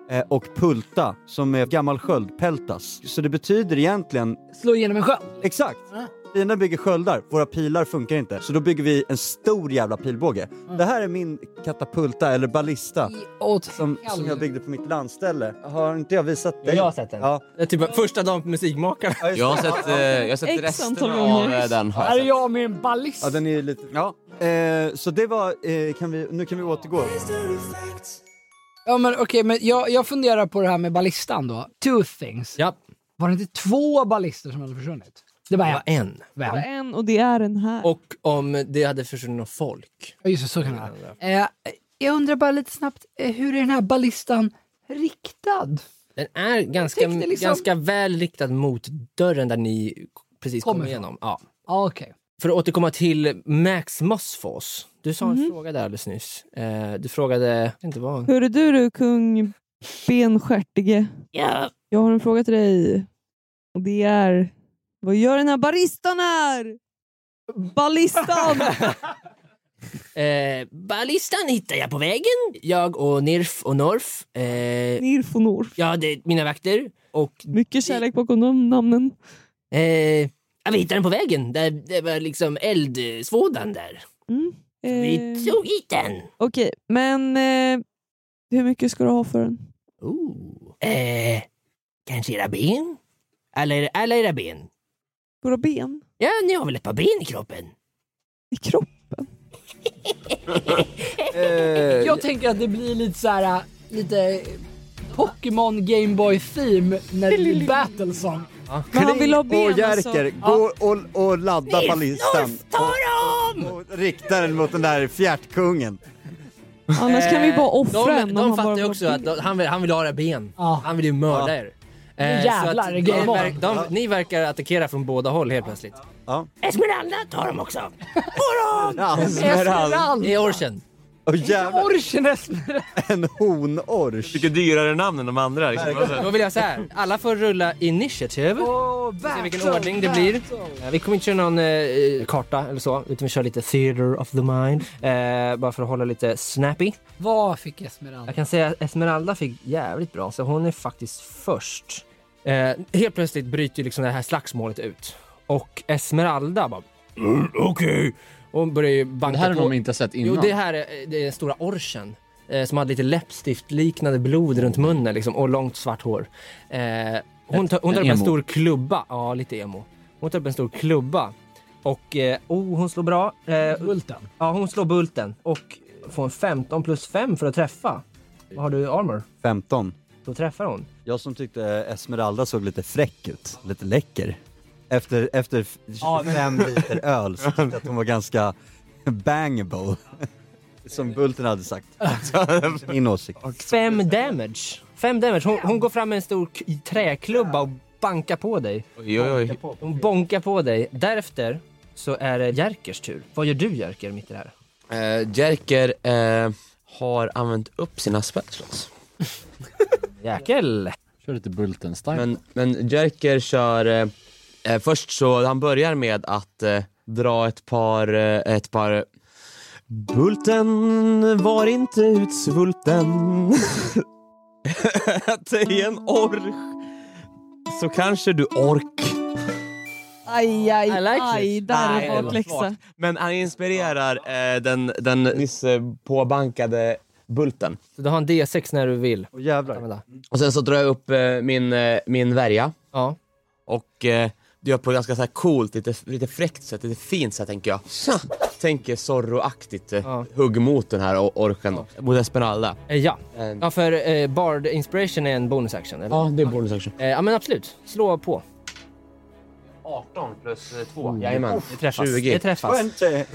G: Eh, och pulta, som är gammal sköld, peltas. Så det betyder egentligen
E: Slå igenom en sköld?
G: Exakt! Fina bygger sköldar, våra pilar funkar inte. Så då bygger vi en stor jävla pilbåge. Det här är min katapulta, eller ballista,
E: I- Åt
G: som, som jag byggde på mitt landställe. Har inte jag visat dig?
B: jag har sett den.
G: Ja,
B: Det är typ första dagen på Musikmakarna.
G: ja, just
I: Jag har
G: det.
I: sett, eh,
G: Ja.
I: jag har sett
C: X antal
I: resten
C: gånger.
I: av eh, den. Har
E: Här är
I: jag sett.
E: jag med en ballista.
G: Ja, den är ju lite... Ja. Eh, så det var... Eh, kan vi, nu kan vi återgå.
E: Ja men okej, men jag, jag funderar på det här med ballistan då. Two things.
B: Ja,
E: Var det inte två ballister som hade försvunnit? Det var
B: det
E: en.
B: var en.
C: Det
E: Vem?
C: var en och det är den här.
B: Och om det hade försvunnit någon folk.
E: Ja just det, så kan det vara. Eh, jag undrar bara lite snabbt, eh, hur är den här ballistan riktad?
B: Den är ganska,
E: Jag tyckte liksom-
B: ganska väl riktad mot dörren där ni precis
E: Kommer
B: kom
E: från.
B: igenom. Ja.
E: Ah, okej.
B: För att återkomma till Max Mossfors. Du sa en fråga där alldeles nyss. Eh, du frågade... jag vet Inte vad.
C: Hur är du du kung benskärtige?
H: Ja,
C: Jag har en fråga till dig. Och det är... Vad gör den här baristan här? Ballistan!
B: Eh, ballistan hittar jag på vägen. Jag och Nirf och Norf. Eh,
C: Nirf och Norf.
B: ja, det är mina vakter. Och
C: Mycket kärlek bakom de namnen.
B: eh, ja, vi hittade den på vägen. Där, det var liksom eldsvådan där.
C: Mm. Eh,
B: Vi tog hit den.
C: Okej, men eh, hur mycket ska du ha för den?
B: Ooh. Eh, kanske era ben? Alla, alla era ben?
C: Våra ben?
B: Ja, ni har väl ett par ben i kroppen?
C: I kropp?
G: Eh,
E: Jag tänker att det blir lite så här, eh, lite Pokémon Gameboy theme när det blir battlesong.
C: Men han vill ha ben
G: och
C: alltså.
G: Jerker, gå och, och ladda ballistan.
B: ta dem!
G: Och, och rikta den mot den där fjärtkungen.
C: Annars kan vi bara offra
B: Eh, De,
C: en. om
B: de
C: han
B: fattar
C: bara
B: ju
C: vill
B: också
C: ha
B: att de, han, vill, han vill ha era ben.
E: Ja.
B: Han vill ju mörda er. Eh,
E: jävlar,
B: så att
E: det är
B: det
E: gammal.
B: verk- de, Ni verkar attackera från båda håll helt plötsligt.
G: Ja.
B: Esmeralda tar dem också. På dem!
G: Ja,
B: Det är orchen.
G: och jävlar,
E: Orchen Esmeralda!
G: en honorch.
I: Mycket dyrare namn än de andra. Liksom.
B: Då vill jag så här. Alla får rulla initiativ.
E: Oh,
B: Se vilken ordning det blir. Eh, Vi kommer inte köra någon eh, karta eller så, utan vi kör lite theater of the mind. Eh, bara för att hålla lite snappy.
E: Vad fick Esmeralda?
B: Jag kan säga att Esmeralda fick jävligt bra, så hon är faktiskt först. Eh, helt plötsligt bryter ju liksom det här slagsmålet ut. Och Esmeralda bara... "Mm, Okej. Hon börjar ju banka
D: Det här har
B: på.
D: de inte sett innan.
B: Jo, det här är eh, det är den stora orchen. Eh, som hade lite läppstiftliknande blod runt munnen liksom, och långt svart hår. Eh, hon tar, hon tar
D: en
B: upp en
D: emo.
B: stor klubba. Ja, lite emo. Hon tar upp en stor klubba. Och eh, oh, hon slår bra. Eh,
E: Bulten.
B: ja, hon slår bulten och får en 15 plus 5 för att träffa. Vad har du i armor?
G: 15.
B: Då träffar hon.
G: Jag som tyckte Esmeralda såg lite fräck ut, lite läcker. Efter, efter f- 25 liter öl så tyckte jag att hon var ganska bangable. Som Bulten hade sagt. Min åsikt.
B: Fem damage. Fem damage. Hon, hon går fram med en stor k- träklubba och bankar på dig.
I: Oj, oj, oj.
B: Hon bonkar på dig. Därefter så är det Jerkers tur. Vad gör du Jerker mitt i det här?
I: Eh, Jerker eh, har använt upp sina spelslås.
B: Jäkel!
D: Kör lite Bulten-style.
I: Men, men Jerker kör, eh, eh, först så, han börjar med att eh, dra ett par, eh, ett par Bulten var inte utsvulten Ät i en orch så kanske du ork
C: Aj, aj,
B: I like
C: aj.
B: it.
C: Där
I: Nej,
C: är
I: det var
C: bakläxa.
I: svagt. Men han inspirerar eh, den, den nyss eh, påbankade Bulten.
B: Så du har en D6 när du vill.
G: Åh jävlar.
B: Använda.
I: Och sen så drar jag upp eh, min, eh, min värja
B: Ja.
I: och eh, det gör på ett ganska så här coolt, lite, lite fräckt sätt, lite fint sätt tänker jag. Tja! Tänker Zorro-aktigt eh,
B: Ja.
I: hugg mot den här or- orken då. Mot Esmeralda.
B: Eh, ja.
I: Eh,
B: ja, för eh, Bard Inspiration är en bonus action. Eller?
I: det är bonus action.
B: Eh, ja, men absolut. Slå på.
I: 18 plus 2. Jajamän.
B: Det träffas.
I: 20.
B: Det träffas.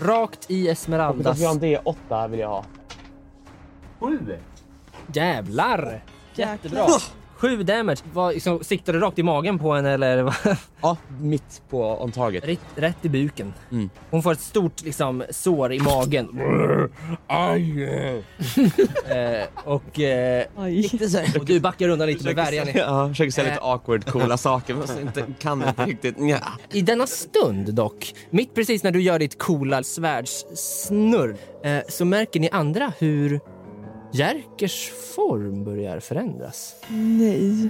B: Rakt i Esmeraldas...
I: D8 vill jag ha.
B: Jävlar!
C: Jäklar.
B: Sju damage. Vad, liksom, siktar du rakt i magen på henne eller? vad?
I: Ja, mitt på on target.
B: Rätt, rätt i buken.
I: Mm.
B: Hon får ett stort liksom, sår i magen. Aj! eh, och, eh,
C: Aj.
B: och du backar undan lite med värjan. i-
I: Ja, försöker säga lite awkward coola saker men så inte, kan inte riktigt. Nja.
B: I denna stund dock, mitt precis när du gör ditt coola svärdssnurr, eh, så märker ni andra hur Jerkers form börjar förändras.
C: Nej.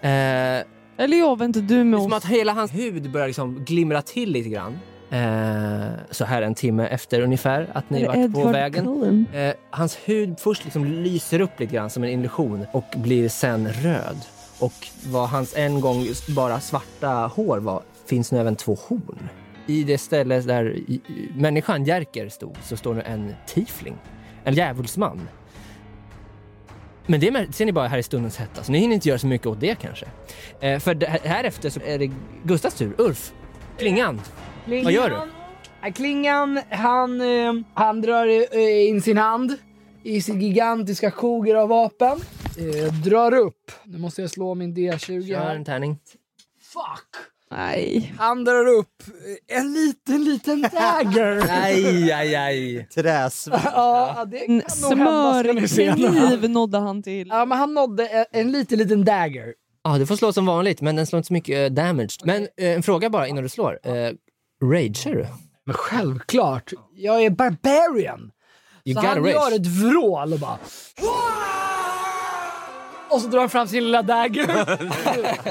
B: Eh,
C: Eller jag, väntar du med
B: Det är som
C: oss?
B: att hela hans hud börjar liksom glimra till lite grann. Eh, så här en timme efter ungefär att ni
C: Eller
B: varit på
C: Edward
B: vägen.
C: Cullen?
B: Eh, hans hud först liksom lyser upp lite grann som en illusion och blir sen röd. Och vad hans en gång just bara svarta hår var finns nu även två horn. I det ställe där i- i- människan Jerker stod så står nu en tiefling, en djävulsman. Men det mär- ser ni bara här i stundens hetta, så ni hinner inte göra så mycket åt det kanske. Eh, för det, här efter så är det Gustavs tur. Ulf, klingan. Vad gör du?
E: Ja, Äh, Klingan, han, eh, han drar eh, in sin hand i sin gigantiska koger av vapen. Eh, drar upp. Nu måste jag slå min D20
B: Gör
E: här.
B: en tärning.
E: Fuck!
C: Nej.
E: Han drar upp eh, en liten, liten dagger.
B: Aj, aj, aj.
G: Träsvärd.
E: ja, det kan
C: En
E: nog hända, ska ni se.
C: smörkniv nådde han till.
E: Ja, men han nådde en, en liten, liten dagger.
B: Ja, du får slå som vanligt, men den slår inte så mycket eh, damage. Men eh, en fråga bara innan du slår. Eh, rager du?
E: Men självklart, jag är barbarian.
B: You
E: så
B: gotta
E: han
B: rage.
E: gör ett vrål och bara... Och så drar han fram sin lilla dagger.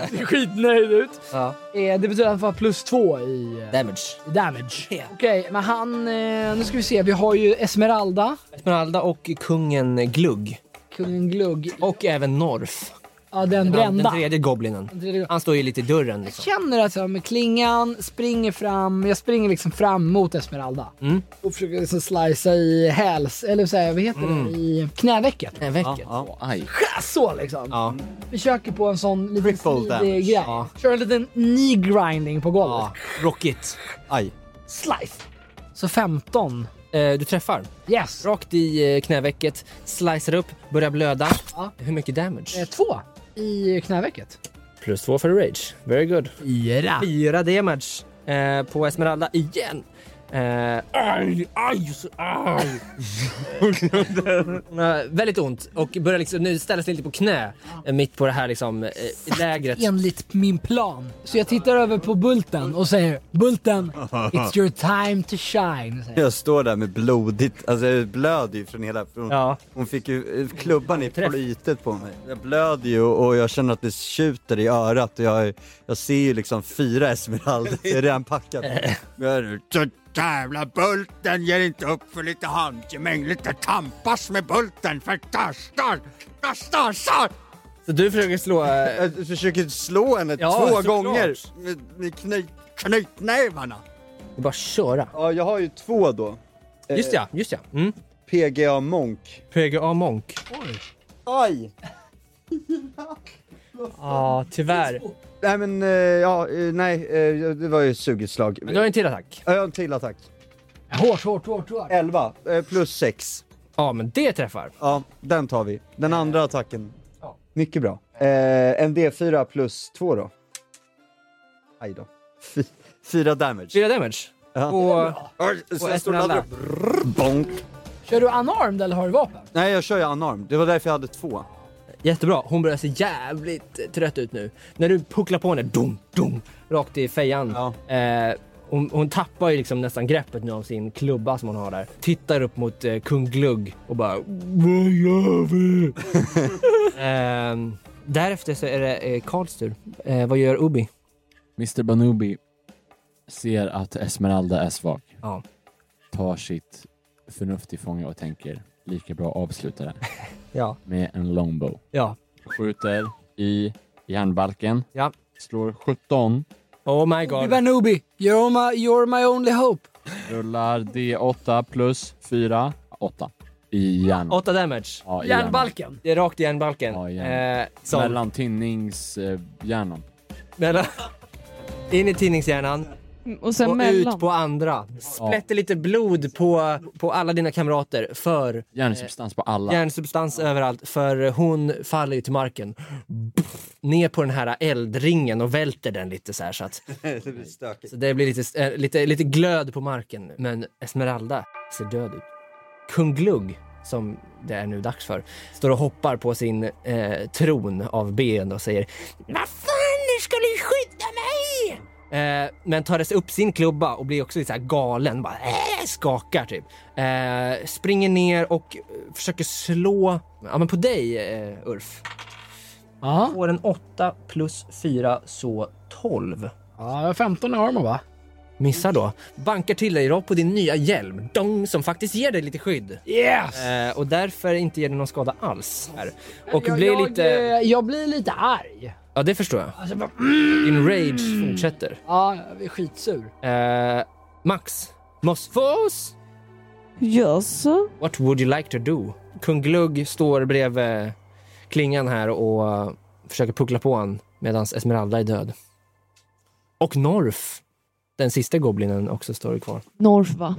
E: Ser skitnöjd ut.
B: Ja.
E: Eh, Det betyder att han får plus två i eh,
B: Damage.
E: i damage. Okej, men han... eh, Nu ska vi se, vi har ju Esmeralda,
B: Esmeralda och kungen eh, Glugg.
E: kungen Glugg.
B: Och även Norf.
E: Ja, den
B: Den, den
E: brända.
B: tredje goblinen.
E: Den tredje.
B: Han står ju lite i dörren
E: Jag
B: liksom.
E: känner att jag med klingan springer fram, jag springer liksom fram mot Esmeralda.
B: Mm.
E: Och försöker liksom slicea i häls, eller så här, vad heter
B: Mm.
E: det, i knävecket.
B: Den väcket.
D: Åh, aj.
E: Så liksom.
B: Ja.
E: Försöker på en sån liten
G: Triple damage.
E: smidig grej.
B: Ja.
E: Kör en liten knee grinding på golvet.
B: ja. Rockigt.
G: Aj.
E: Slice! Så 15.
B: Eh, du träffar.
E: Yes.
B: Rakt i eh, knävecket. Slicer upp, börjar blöda.
E: Ja.
B: Hur mycket
E: Eh,
B: damage?
E: Två i knävecket.
B: Plus två för rage. Very good.
E: Fyra.
B: Fyra damage eh, på Esmeralda igen. Eh, aj, aj, så aj. Hon har väldigt ont och börjar liksom, nu ställa sig lite på knä eh, mitt på det här liksom, eh, lägret.
E: Enligt min plan. Så jag tittar över på Bulten och säger Bulten, it's your time to shine. säger jag.
G: Jag står där med blodigt, alltså jag blöder ju från hela, från,
B: Ja.
G: hon fick ju eh, klubban i flytet på mig. Jag blöder ju och jag känner att det tjuter i örat och jag, jag ser ju liksom fyra esmeralder, det är redan packat. Men jag är nu, "Så jävla Bulten ger inte upp för lite handgemäng, lite tampas med Bulten för törstar, törstar,
B: Så du försöker slå... eh,
G: Jag försöker slå henne
B: Ja,
G: två
B: såklart.
G: gånger med, med kny, knytnävarna.
B: Det är bara att köra.
G: Ja, jag har ju två då.
B: Just ja, just ja. Mm.
G: PGA Monk.
B: PGA Monk.
G: Aj!
B: Ja, tyvärr.
G: Nej men, eh, ja, eh, nej, eh, det var ju sugetslag.
B: Men du har en till attack.
G: Ja, Jag har en till attack.
E: Hårt, hårt, hårt, hårt.
G: 11 eh, plus 6.
B: Ja, men det träffar.
G: Ja, den tar vi. Den andra attacken. Mycket bra. Eh, en D4 plus 2 då. Aj då. Fy, fyra damage.
B: Fyra damage.
G: Ja.
B: Och
G: Arr, så
B: och ett
G: står det
B: med alla.
G: andra. Brrr, Bonk.
E: Kör du unarmed eller har du vapen?
G: Nej, jag kör ju unarmed. Det var därför jag hade två.
B: jättebra. Hon börjar se jävligt trött ut nu. När du pucklar på henne, dum, dum, rakt i fejan. Eh, hon, hon tappar ju liksom nästan greppet nu av sin klubba som hon har där. Tittar upp mot eh, kung Glugg och bara Vad gör vi? Ehm, därefter så är det eh, Karls tur. Eh, vad gör Ubi?
D: Mr Banubi ser att Esmeralda är svag.
B: Ja.
D: Tar sitt förnuft i fånga och tänker lika bra avsluta det här."
B: Ja.
D: med en longbow.
B: Ja.
D: Skjuter i järnbalken.
B: Ja.
D: Slår 17.
B: Oh my
E: Du
B: god.
E: Banubi, you're my, you're my only hope.
D: Rullar D8 plus 4. 8. I järn.
B: 8 damage.
D: Ja, i järn.
E: Järnbalken.
B: Det är rakt i järnbalken.
D: Ja, i järn.
B: eh, som-
D: Mellan eh, tinningshjärnan.
B: mellan- In i tidningshjärnan.
C: Och sen
B: och
C: mellan.
B: ut på andra. Splätter lite blod på, på alla dina kamrater för
D: Järnsubstans på alla.
B: järnsubstans överallt för hon faller ju till marken. Pff, Ner på den här eldringen och välter den lite så här så att
G: det blir stökigt.
B: så det blir lite, eh, lite, lite glöd på marken. nu. Men Esmeralda ser död ut. Kung Glugg, som det är nu dags för, står och hoppar på sin eh, tron av ben och säger Vad fan, nu ska ni skydda mig! Eh, men tar dess upp sin klubba och blir också lite så här galen. Bara, eh, skakar typ. Eh, springer ner och eh, försöker slå ja, men på dig, eh, Ulf.
E: Ja.
B: Får en 8 plus 4 så 12.
E: Ja, jag har 15 i armor va?
B: Missar då. Bankar till dig rakt på din nya hjälm. Dong, som faktiskt ger dig lite skydd.
E: Yes!
B: Eh, och därför inte ger dig någon skada alls. Här. Och
E: jag,
B: blir
E: jag,
B: lite...
E: eh, jag blir lite arg.
B: Ja, det förstår jag.
E: Alltså, bara,
B: Din rage fortsätter.
E: ja, jag är skitsur.
B: Eh, Max, Mosfos,
C: Jaså?
B: what would you like to do? Kung Glugg står bredvid klingan här och eh, försöker puckla på han medan Esmeralda är död. Och Norf, den sista goblinen, också står kvar.
C: North va?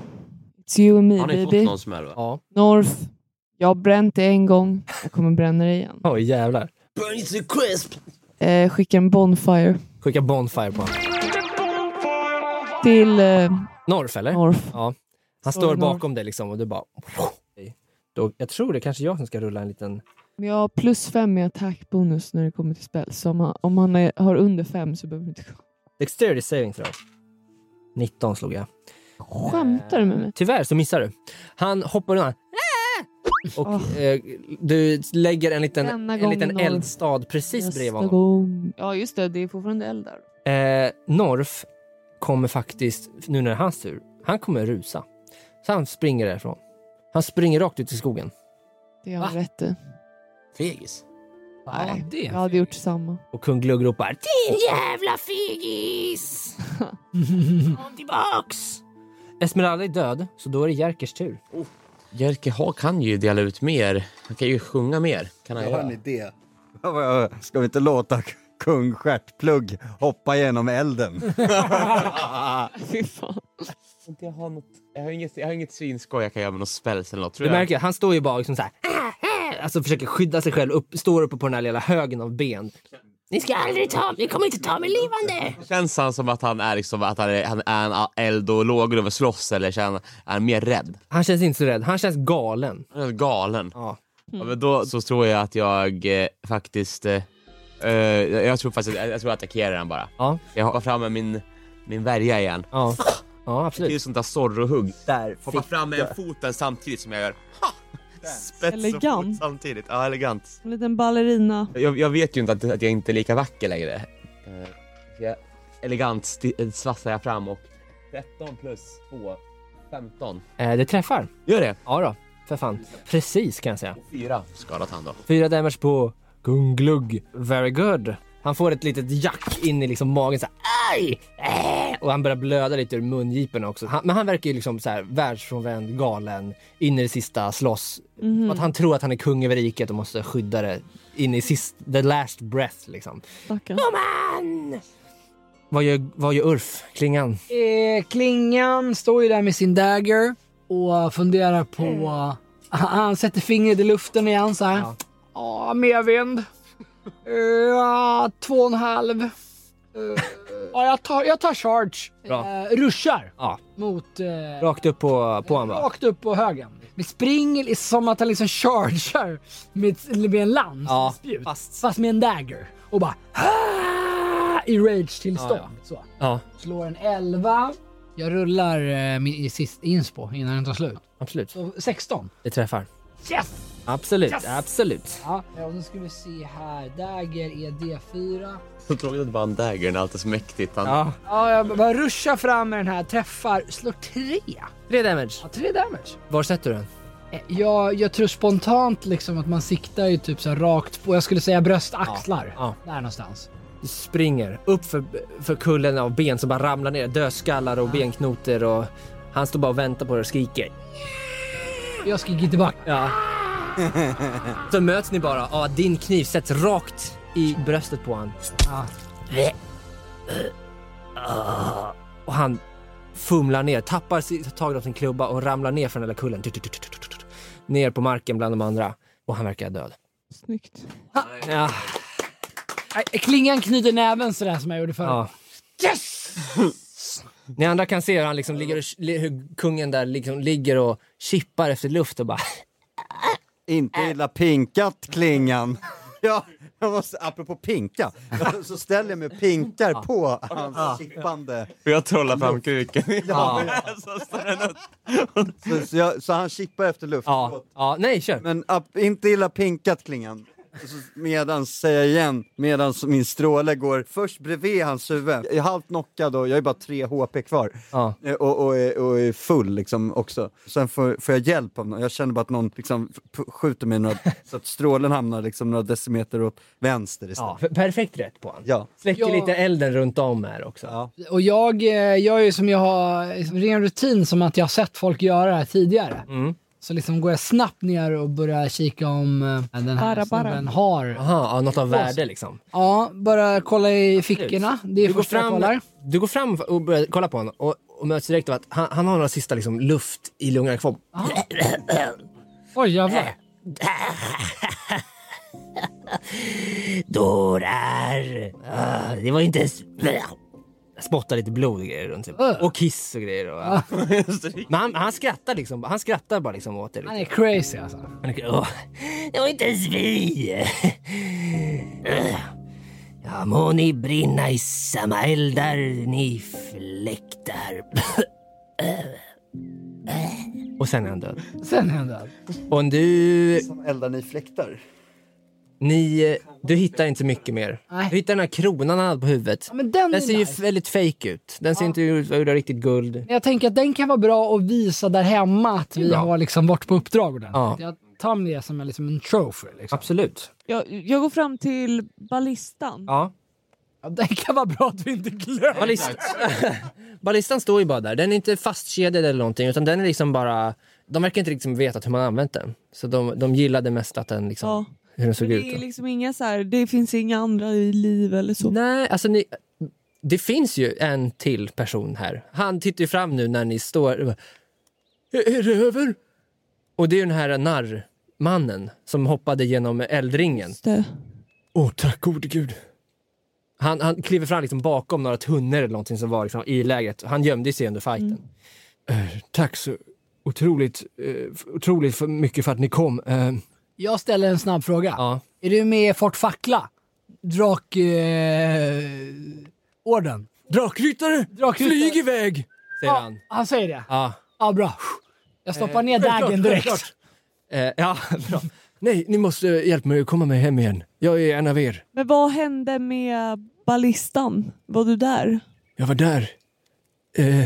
C: It's you and me
I: Har ni fått
C: baby.
I: någon smäll va?
B: Ja.
C: North. Jag har bränt dig en gång. Jag kommer bränna dig igen.
B: Oj, jävlar.
I: Burn it to crisp!
C: Eh, skicka en bonfire
B: Skicka Bonfire på honom.
C: till eh,
B: Norf, eller?
C: North.
B: Han
C: Så
B: står
C: enormt.
B: bakom dig liksom och du bara... Då, jag tror det är kanske jag som ska rulla en liten...
C: Men jag har plus fem i attackbonus när det kommer till spel. Så om han, om han är, har under fem så behöver vi inte...
B: Dexterity saving throw. 19 slog jag.
C: Skämtar du med mig?
B: Tyvärr så missar du. Han hoppar undan. Och
C: Ah.
B: eh, du lägger en liten,
C: Denna
B: en
C: gång
B: liten
C: Norf.
B: eldstad precis bredvid
C: Nästa
B: honom.
C: gång. Ja just det, det är fortfarande eld där.
B: Eh, Norf kommer faktiskt, nu när det är hans tur, han kommer rusa. Så han springer därifrån. Han springer rakt ut i skogen.
C: Det har han rätt i.
I: Fegis.
C: Nej,
E: Ja, det.
C: Jag hade gjort samma.
B: Och kung Glugg ropar
I: Din jävla fegis! Kom tillbaks!
B: Esmeralda är död, så då är det Jerkers tur.
I: Jerker ha kan ju dela ut mer. Han kan ju sjunga mer. Kan han
G: Jag
I: göra.
G: har en idé. Ska vi inte låta kung Stjärtplugg hoppa genom elden?
C: Fy fan.
I: Jag har, något, jag, har inget, jag har inget svinskoj jag kan göra med något spells eller något. Tror
B: Du
I: jag.
B: märker, att han står ju bara liksom så här. Alltså försöker skydda sig själv, upp, står uppe på den här lilla högen av ben.
I: Ni ska aldrig ta ni kommer inte ta mig levande! Känns han som att han är, liksom, att han är, han är en eld och låg över slåss eller känner, är han mer rädd?
B: Han känns inte så rädd, han känns galen.
I: Han är galen.
B: Ja. Mm.
I: Ja, men då så tror jag att jag eh, faktiskt... Eh, eh, jag tror faktiskt jag, jag tror jag attackerar den bara.
B: Ja.
I: Jag hoppar fram med min, min värja igen.
B: Ja, ja
I: Det är ju
B: absolut.
I: sånt där zorrohugg.
B: Där
I: Hoppar fram med en foten samtidigt som jag gör ha! Spets och fot
C: Elegant.
I: samtidigt. Ja, elegant.
C: En liten ballerina.
I: Jag, jag vet ju inte att, att jag inte är lika vacker längre. Eh, så jag, elegant sti- eh, svassar jag fram och 13 plus 2, 15.
B: Eh, det träffar.
I: Gör det!
B: Ja då, för fan. Precis kan jag säga.
I: Fyra skadat han då.
B: Fyra damage på Gunglugg. Very good. Han får ett litet jack in i liksom magen så här, aj! Äh! Och han börjar blöda lite ur mungiporna också. Han, men han verkar ju liksom så här världsfrånvänd, galen, in i det sista, slåss. Att han tror att han är kung över riket och måste skydda det in i sist, the last breath liksom.
C: Stackarn.
B: Vad gör, vad gör Urf, klingan? Mm.
E: Eh, Klingan står ju där med sin dagger och funderar på Han sätter fingret i luften igen så här. Ja, medvind. Eh, Ja, två och en halv. Eh, ja, jag tar, jag tar charge.
B: Bra.
E: Eh, ruschar
B: Ja.
E: mot... eh,
B: Rakt upp på, på honom bara.
E: Rakt upp på högen. Med spring som att han liksom chargear med, med en lans,
B: Ja,
E: ett spjut.
B: fast-
E: fast med en dagger. Och bara "Ah!" i rage-tillstånd.
B: Ja,
E: Så.
B: Ja,
E: Slår en 11. Jag rullar eh, min i sist inspo innan den tar slut.
B: absolut.
E: Så 16.
B: Det träffar.
E: Yes!
B: Absolut,
E: Yes!
B: absolut.
E: Ja, och nu ska vi se här. Dagger E är D4.
I: Så tråkigt att det bara är en dagger, den är alltid så mäktigt. Han,
B: Ja.
E: Ja, jag bara ruschar fram med den här, träffar, slår 3.
B: Tre damage.
E: Ja, 3 damage.
B: Var sätter du den?
E: Eh, Jag, jag tror spontant liksom att man siktar ju typ så här rakt på, jag skulle säga bröst, axlar.
B: ja.
E: Där någonstans.
B: Du springer upp för, för kullen av ben som bara ramlar ner. Dödskallar och benknotor och han står bara och väntar på dig och skriker.
E: Jag skriker tillbaka.
B: Ja. Så möts ni bara av att din kniv sätts rakt i bröstet på han.
E: Ja.
B: Och han fumlar ner, tappar si- taget av sin klubba och ramlar ner från den där kullen. Tut-tut-tut-tut-tut. Ner på marken bland de andra. Och han verkar död.
C: Snyggt.
B: Ja,
E: Nej, Äh, Klingan knyter näven sådär som jag gjorde förut.
B: ja.
E: Yes!
B: Ni andra kan se hur, han liksom ligger och, li- hur kungen där liksom ligger och kippar efter luft och bara...
G: Inte
B: Äh.
G: illa pinkat klingan. Ja, jag måste, apropå pinka, så ställer jag mig och pinkar på hans kippande.
I: jag trollar fram kuken.
B: Ja,
G: Så, så, jag, så han kippar efter luft.
B: ja, ja. Nej, kör.
G: Men ap, inte illa pinkat klingan. Så Medan, säger jag igen, medan min stråle går först bredvid hans huvud. Jag är halvt knockad och jag är bara tre HP kvar.
B: Ja.
G: Eh, Och, och, är- och är full liksom också. Sen får, får jag hjälp av någon. Jag känner bara att någon liksom p- skjuter mig några, så att strålen hamnar liksom några decimeter åt vänster istället.
B: Ja, för- perfekt rätt på honom.
G: Ja.
B: Släcker
E: Ja.
B: lite elden runt om här också.
G: Ja.
E: Och jag eh, gör ju som jag har, liksom, ren rutin som att jag har sett folk göra det här tidigare.
B: Mm.
E: Så liksom går jag snabbt ner och börjar kika om eh, den här
C: Bara, bara.
E: snubben har.
B: Aha, ja, något av värde liksom.
E: Ja, bara kolla i fickorna. Det är
B: Du går,
E: första jag
B: fram,
E: kollar.
B: du går fram och börjar kolla på honom och, och möts direkt av att han, han har några sista liksom, luft i lungorna kvar.
E: Oj jävlar.
B: Dårar! Ah, det var inte ens... Spottar lite blod och grejer runt sig.
E: Ah.
B: Och kiss och grejer. Och, ja. Men han, han skrattar liksom. Han skrattar bara liksom åt
E: Han
B: det.
E: är crazy alltså.
B: Han är- Åh, det var inte ens vi! Ah. Ja, må ni brinna i samma eldar, ni fläktar. Och sen är han död.
E: Sen händer allt.
B: Och du
G: Som eldar ni fläktar.
B: Ni, eh, du hittar inte så mycket mer.
E: Nej.
B: Du hittar den här kronan han hade på huvudet.
E: Ja, men den,
B: Den
E: är
B: ser ju
E: nice.
B: väldigt fake ut. Den ser inte ut att vara riktigt guld.
E: Men jag tänker att den kan vara bra att visa där hemma att vi
B: bra.
E: har liksom varit på uppdrag ordentligt.
B: Ja.
E: Jag tar med det som en, liksom en trophy. Liksom.
B: Absolut.
C: Jag, jag går fram till ballistan.
B: Ja.
E: Ja, den kan vara bra att vi inte glömmer.
B: Ballist... Ballistan står ju bara där. Den är inte fastkedjad eller någonting utan den är liksom bara... De verkar inte liksom veta hur man använt den. Så de, de gillade mest att den liksom,
C: Ja.
B: hur den såg
C: Det är
B: ut.
C: liksom inga så här, det finns inga andra i liv eller så.
B: Nej, alltså ni... Det finns ju en till person här. Han tittar ju fram nu när ni står... och bara, Är är det över? Och det är ju den här narrmannen som hoppade genom eldringen.
C: Det.
B: Åh, tack gode gud. Han, han kliver fram liksom bakom några tunnor eller någonting som var liksom i lägret. Han gömde sig under fighten.
E: Mm.
B: Eh, tack så otroligt, eh, f- otroligt för mycket för att ni kom. Eh,
E: Jag ställer en snabb fråga.
B: ja.
E: Är du med i Fort Fackla? Drak... Eh, orden.
B: Drakryttare,
E: Drakryttare.
B: flyg iväg! Säger han.
E: han säger det.
B: Ja,
E: Ja, bra. Jag stoppar ner dagen direkt.
B: eh, ja bra. Nej, ni måste eh, hjälpa mig att komma mig hem igen. Jag är en av er.
C: Men vad hände med ballistan? Var du där?
B: Jag var där. Eh,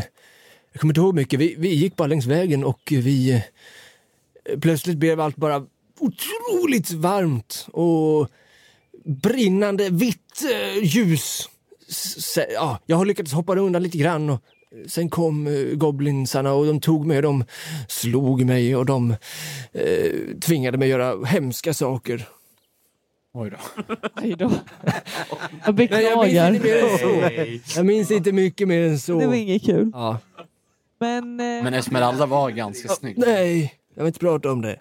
B: jag kommer inte ihåg mycket. Vi, vi gick bara längs vägen och eh, vi... Eh, plötsligt blev allt bara otroligt varmt och brinnande vitt eh, ljus. S- s- ja, jag har lyckats hoppa undan lite grann och sen kom eh, goblinsarna och de tog mig och de slog mig och de eh, tvingade mig göra hemska saker.
C: Aj då. Jag
B: Nej, jag minns
C: beklagar.
B: inte mer än så. Jag minns inte mycket mer än
C: Det var
B: så.
C: inget kul.
B: Ja.
C: Men, eh,
D: Men Esmeralda var ganska snygg.
B: Nej, jag vill inte prata om det.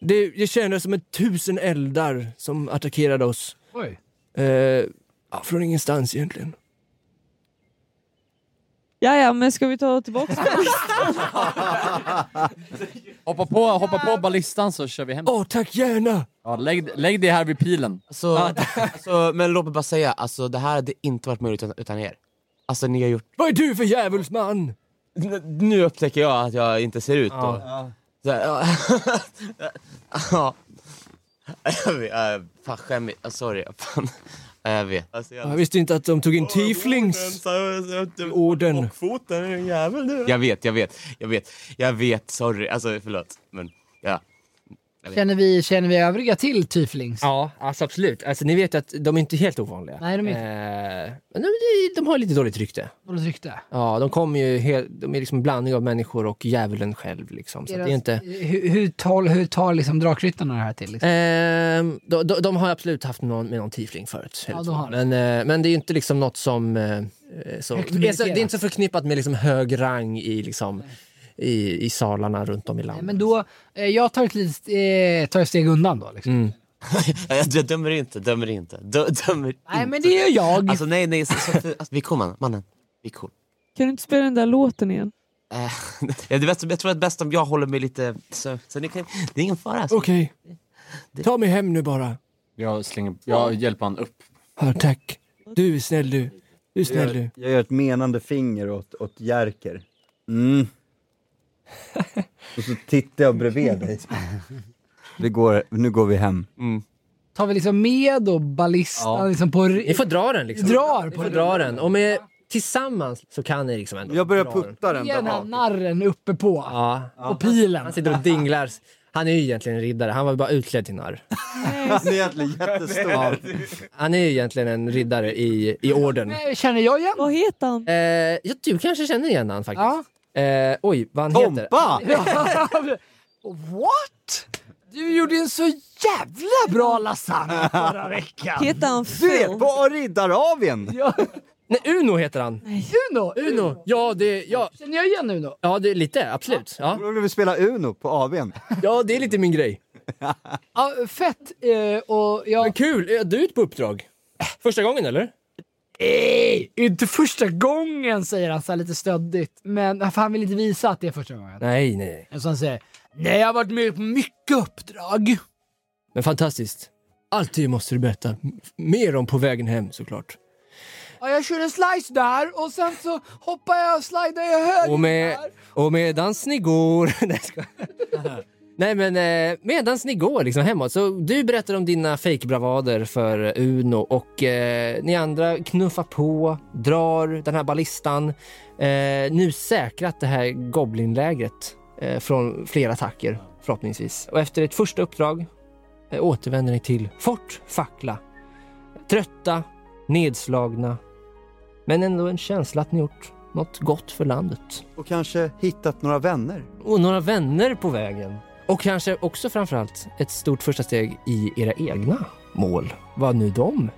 B: Det, det kändes som ett tusen eldar som attackerade oss.
E: Oj.
B: Eh, ja, från ingenstans egentligen.
C: Ja, ja, men ska vi ta tillbaka den?
D: Hoppa på, hoppa på ballistan så kör vi hem.
B: Åh, tack gärna!
D: Ja, lägg, lägg det här vid pilen.
I: Så, alltså, men låt mig bara säga, alltså, det här hade inte varit möjligt utan, utan er. Alltså ni har gjort...
B: Vad är du för djävulsman?
I: N- Nu upptäcker jag att jag inte ser ut då. Så här, ja. ja. Jag vet, äh, fan skämmigt. Ah, sorry. Fan. Ja, jag vet. Alltså,
B: Jag
I: jag, Alltså,
B: visste inte att de tog in tieflings. Orden.
I: foten är en jävel du. Jag vet, jag vet. Jag vet, jag vet. Sorry. Alltså förlåt. Men ja.
E: Känner vi, känner vi övriga till Tieflings?
B: Ja, alltså absolut. Alltså, ni vet att de är inte helt ovanliga.
E: Nej, de är inte.
B: Eh, men de, de har lite dåligt rykte.
E: Dåligt rykte.
B: Ja, de kommer ju helt, de är liksom en blandning av människor och djävulen själv. Liksom. Så att det är inte...
E: eh, hur, hur tar, hur tar liksom drakryttarna det här till? Liksom?
B: Ehm, de, de, de har absolut haft någon, med någon tiefling förut.
E: Ja,
B: eller
E: de
B: så.
E: har det.
B: men, eh, men det är ju inte liksom något som... eh, Så,
E: Högt
B: det, är så, det
E: meriterat.
B: är inte så förknippat med liksom hög rang i, liksom, i, i salarna runt om i
E: Nej,
B: landet.
E: Men då, eh, jag tar ett litet eh, tar ett steg undan då. Liksom.
I: Jag, jag dömer inte, dömer inte. Dö, dömer
B: Mm.
E: Nej
I: inte.
E: men det gör jag.
I: Alltså nej, nej. Så, så, alltså, vi är cool mannen. mannen. Vi är cool.
C: Kan du inte spela den där låten igen?
I: Eh, det är bäst, jag tror att det är bäst om jag håller mig lite... Så, så ni kan, det är ingen fara. Alltså.
B: Okej. Ta mig hem nu bara.
D: Jag, slänger, jag hjälper han upp.
B: Ja, tack. Du är snäll du. Du är snäll du.
G: Jag gör ett menande finger åt, åt Jerker. Mm. Och så tittar jag bredvid dig. Vi går, nu går vi hem.
E: Tar vi liksom med då ballistan liksom på...
B: Ni får dra den liksom.
E: Vi drar
B: Ni
E: på
B: får
E: den.
B: dra den. Och med, tillsammans så kan ni liksom ändå
G: Jag börjar
B: dra den.
G: putta den
E: Ge den här
G: där
E: narren uppe på.
B: Ja.
E: Och pilen.
B: Han sitter och dinglar. Han är ju egentligen en riddare. Han var ju bara utklädd till narr.
G: Han är egentligen jättestor.
B: Han är ju egentligen en riddare i, i orden.
E: Nej, Känner jag igen?
C: Vad heter han?
B: Eh, ja, du kanske känner igen han
E: Ja.
B: faktiskt. Eh, oj, vad han heter.
G: Tompa!
E: What? Du gjorde en så jävla bra lasagne förra veckan.
C: Heter han Phil?
G: Du är på Riddaravien!
B: Nej, Uno heter han.
E: Uno, Uno.
B: Ja, det, ja,
E: Känner jag igen Uno?
B: ja, det är lite. Absolut. Ja.
G: Då vill vi spela Uno på AWn.
B: ja, det är lite min grej.
E: Ja, fett. Eh, och jag...
B: Men kul. Är du ute på uppdrag? Första gången eller?
E: Ey, inte första gången säger han så här lite stöddigt. Men för han vill inte visa att det är första gången.
B: Nej, nej.
E: Så han säger Nej, jag har varit med på mycket uppdrag.
B: Men fantastiskt. Alltid måste du berätta m- mer om på vägen hem såklart.
E: Ja, jag kör en slice där och sen så hoppar jag och slidar jag höger
B: Och, med,
E: där.
B: och medans ni går... Nej, jag skojar. Nej men eh, medans ni går liksom hemåt, så du berättar om dina fejkbravader för Uno och eh, ni andra knuffar på, drar den här ballistan. Eh, nu säkrat det här Goblinlägret eh, från flera attacker förhoppningsvis. Och efter ett första uppdrag eh, återvänder ni till Fort Fackla. Trötta, nedslagna, men ändå en känsla att ni gjort något gott för landet
G: Och kanske hittat några vänner.
B: och några vänner på vägen. Och kanske också framförallt ett stort första steg i era egna mål. Vad nu de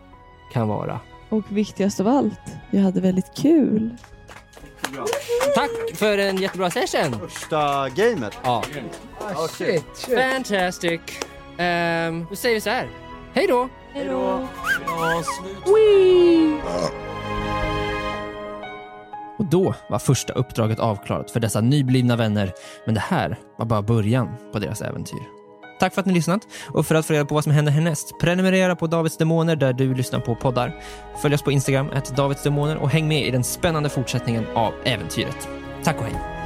B: kan vara.
C: Och viktigast av allt, jag hade väldigt kul.
B: Tack för en jättebra session!
G: Första gamet.
B: Ja.
E: Ah, shit, shit.
B: Fantastic! Um, då säger vi så här. Hej då! Och då var första uppdraget avklarat för dessa nyblivna vänner. Men det här var bara början på deras äventyr. Tack för att ni lyssnat och för att få reda på vad som händer härnäst, prenumerera på Davids Demoner där du lyssnar på poddar. Följ oss på Instagram, Davids Demoner och häng med i den spännande fortsättningen av äventyret. Tack och hej!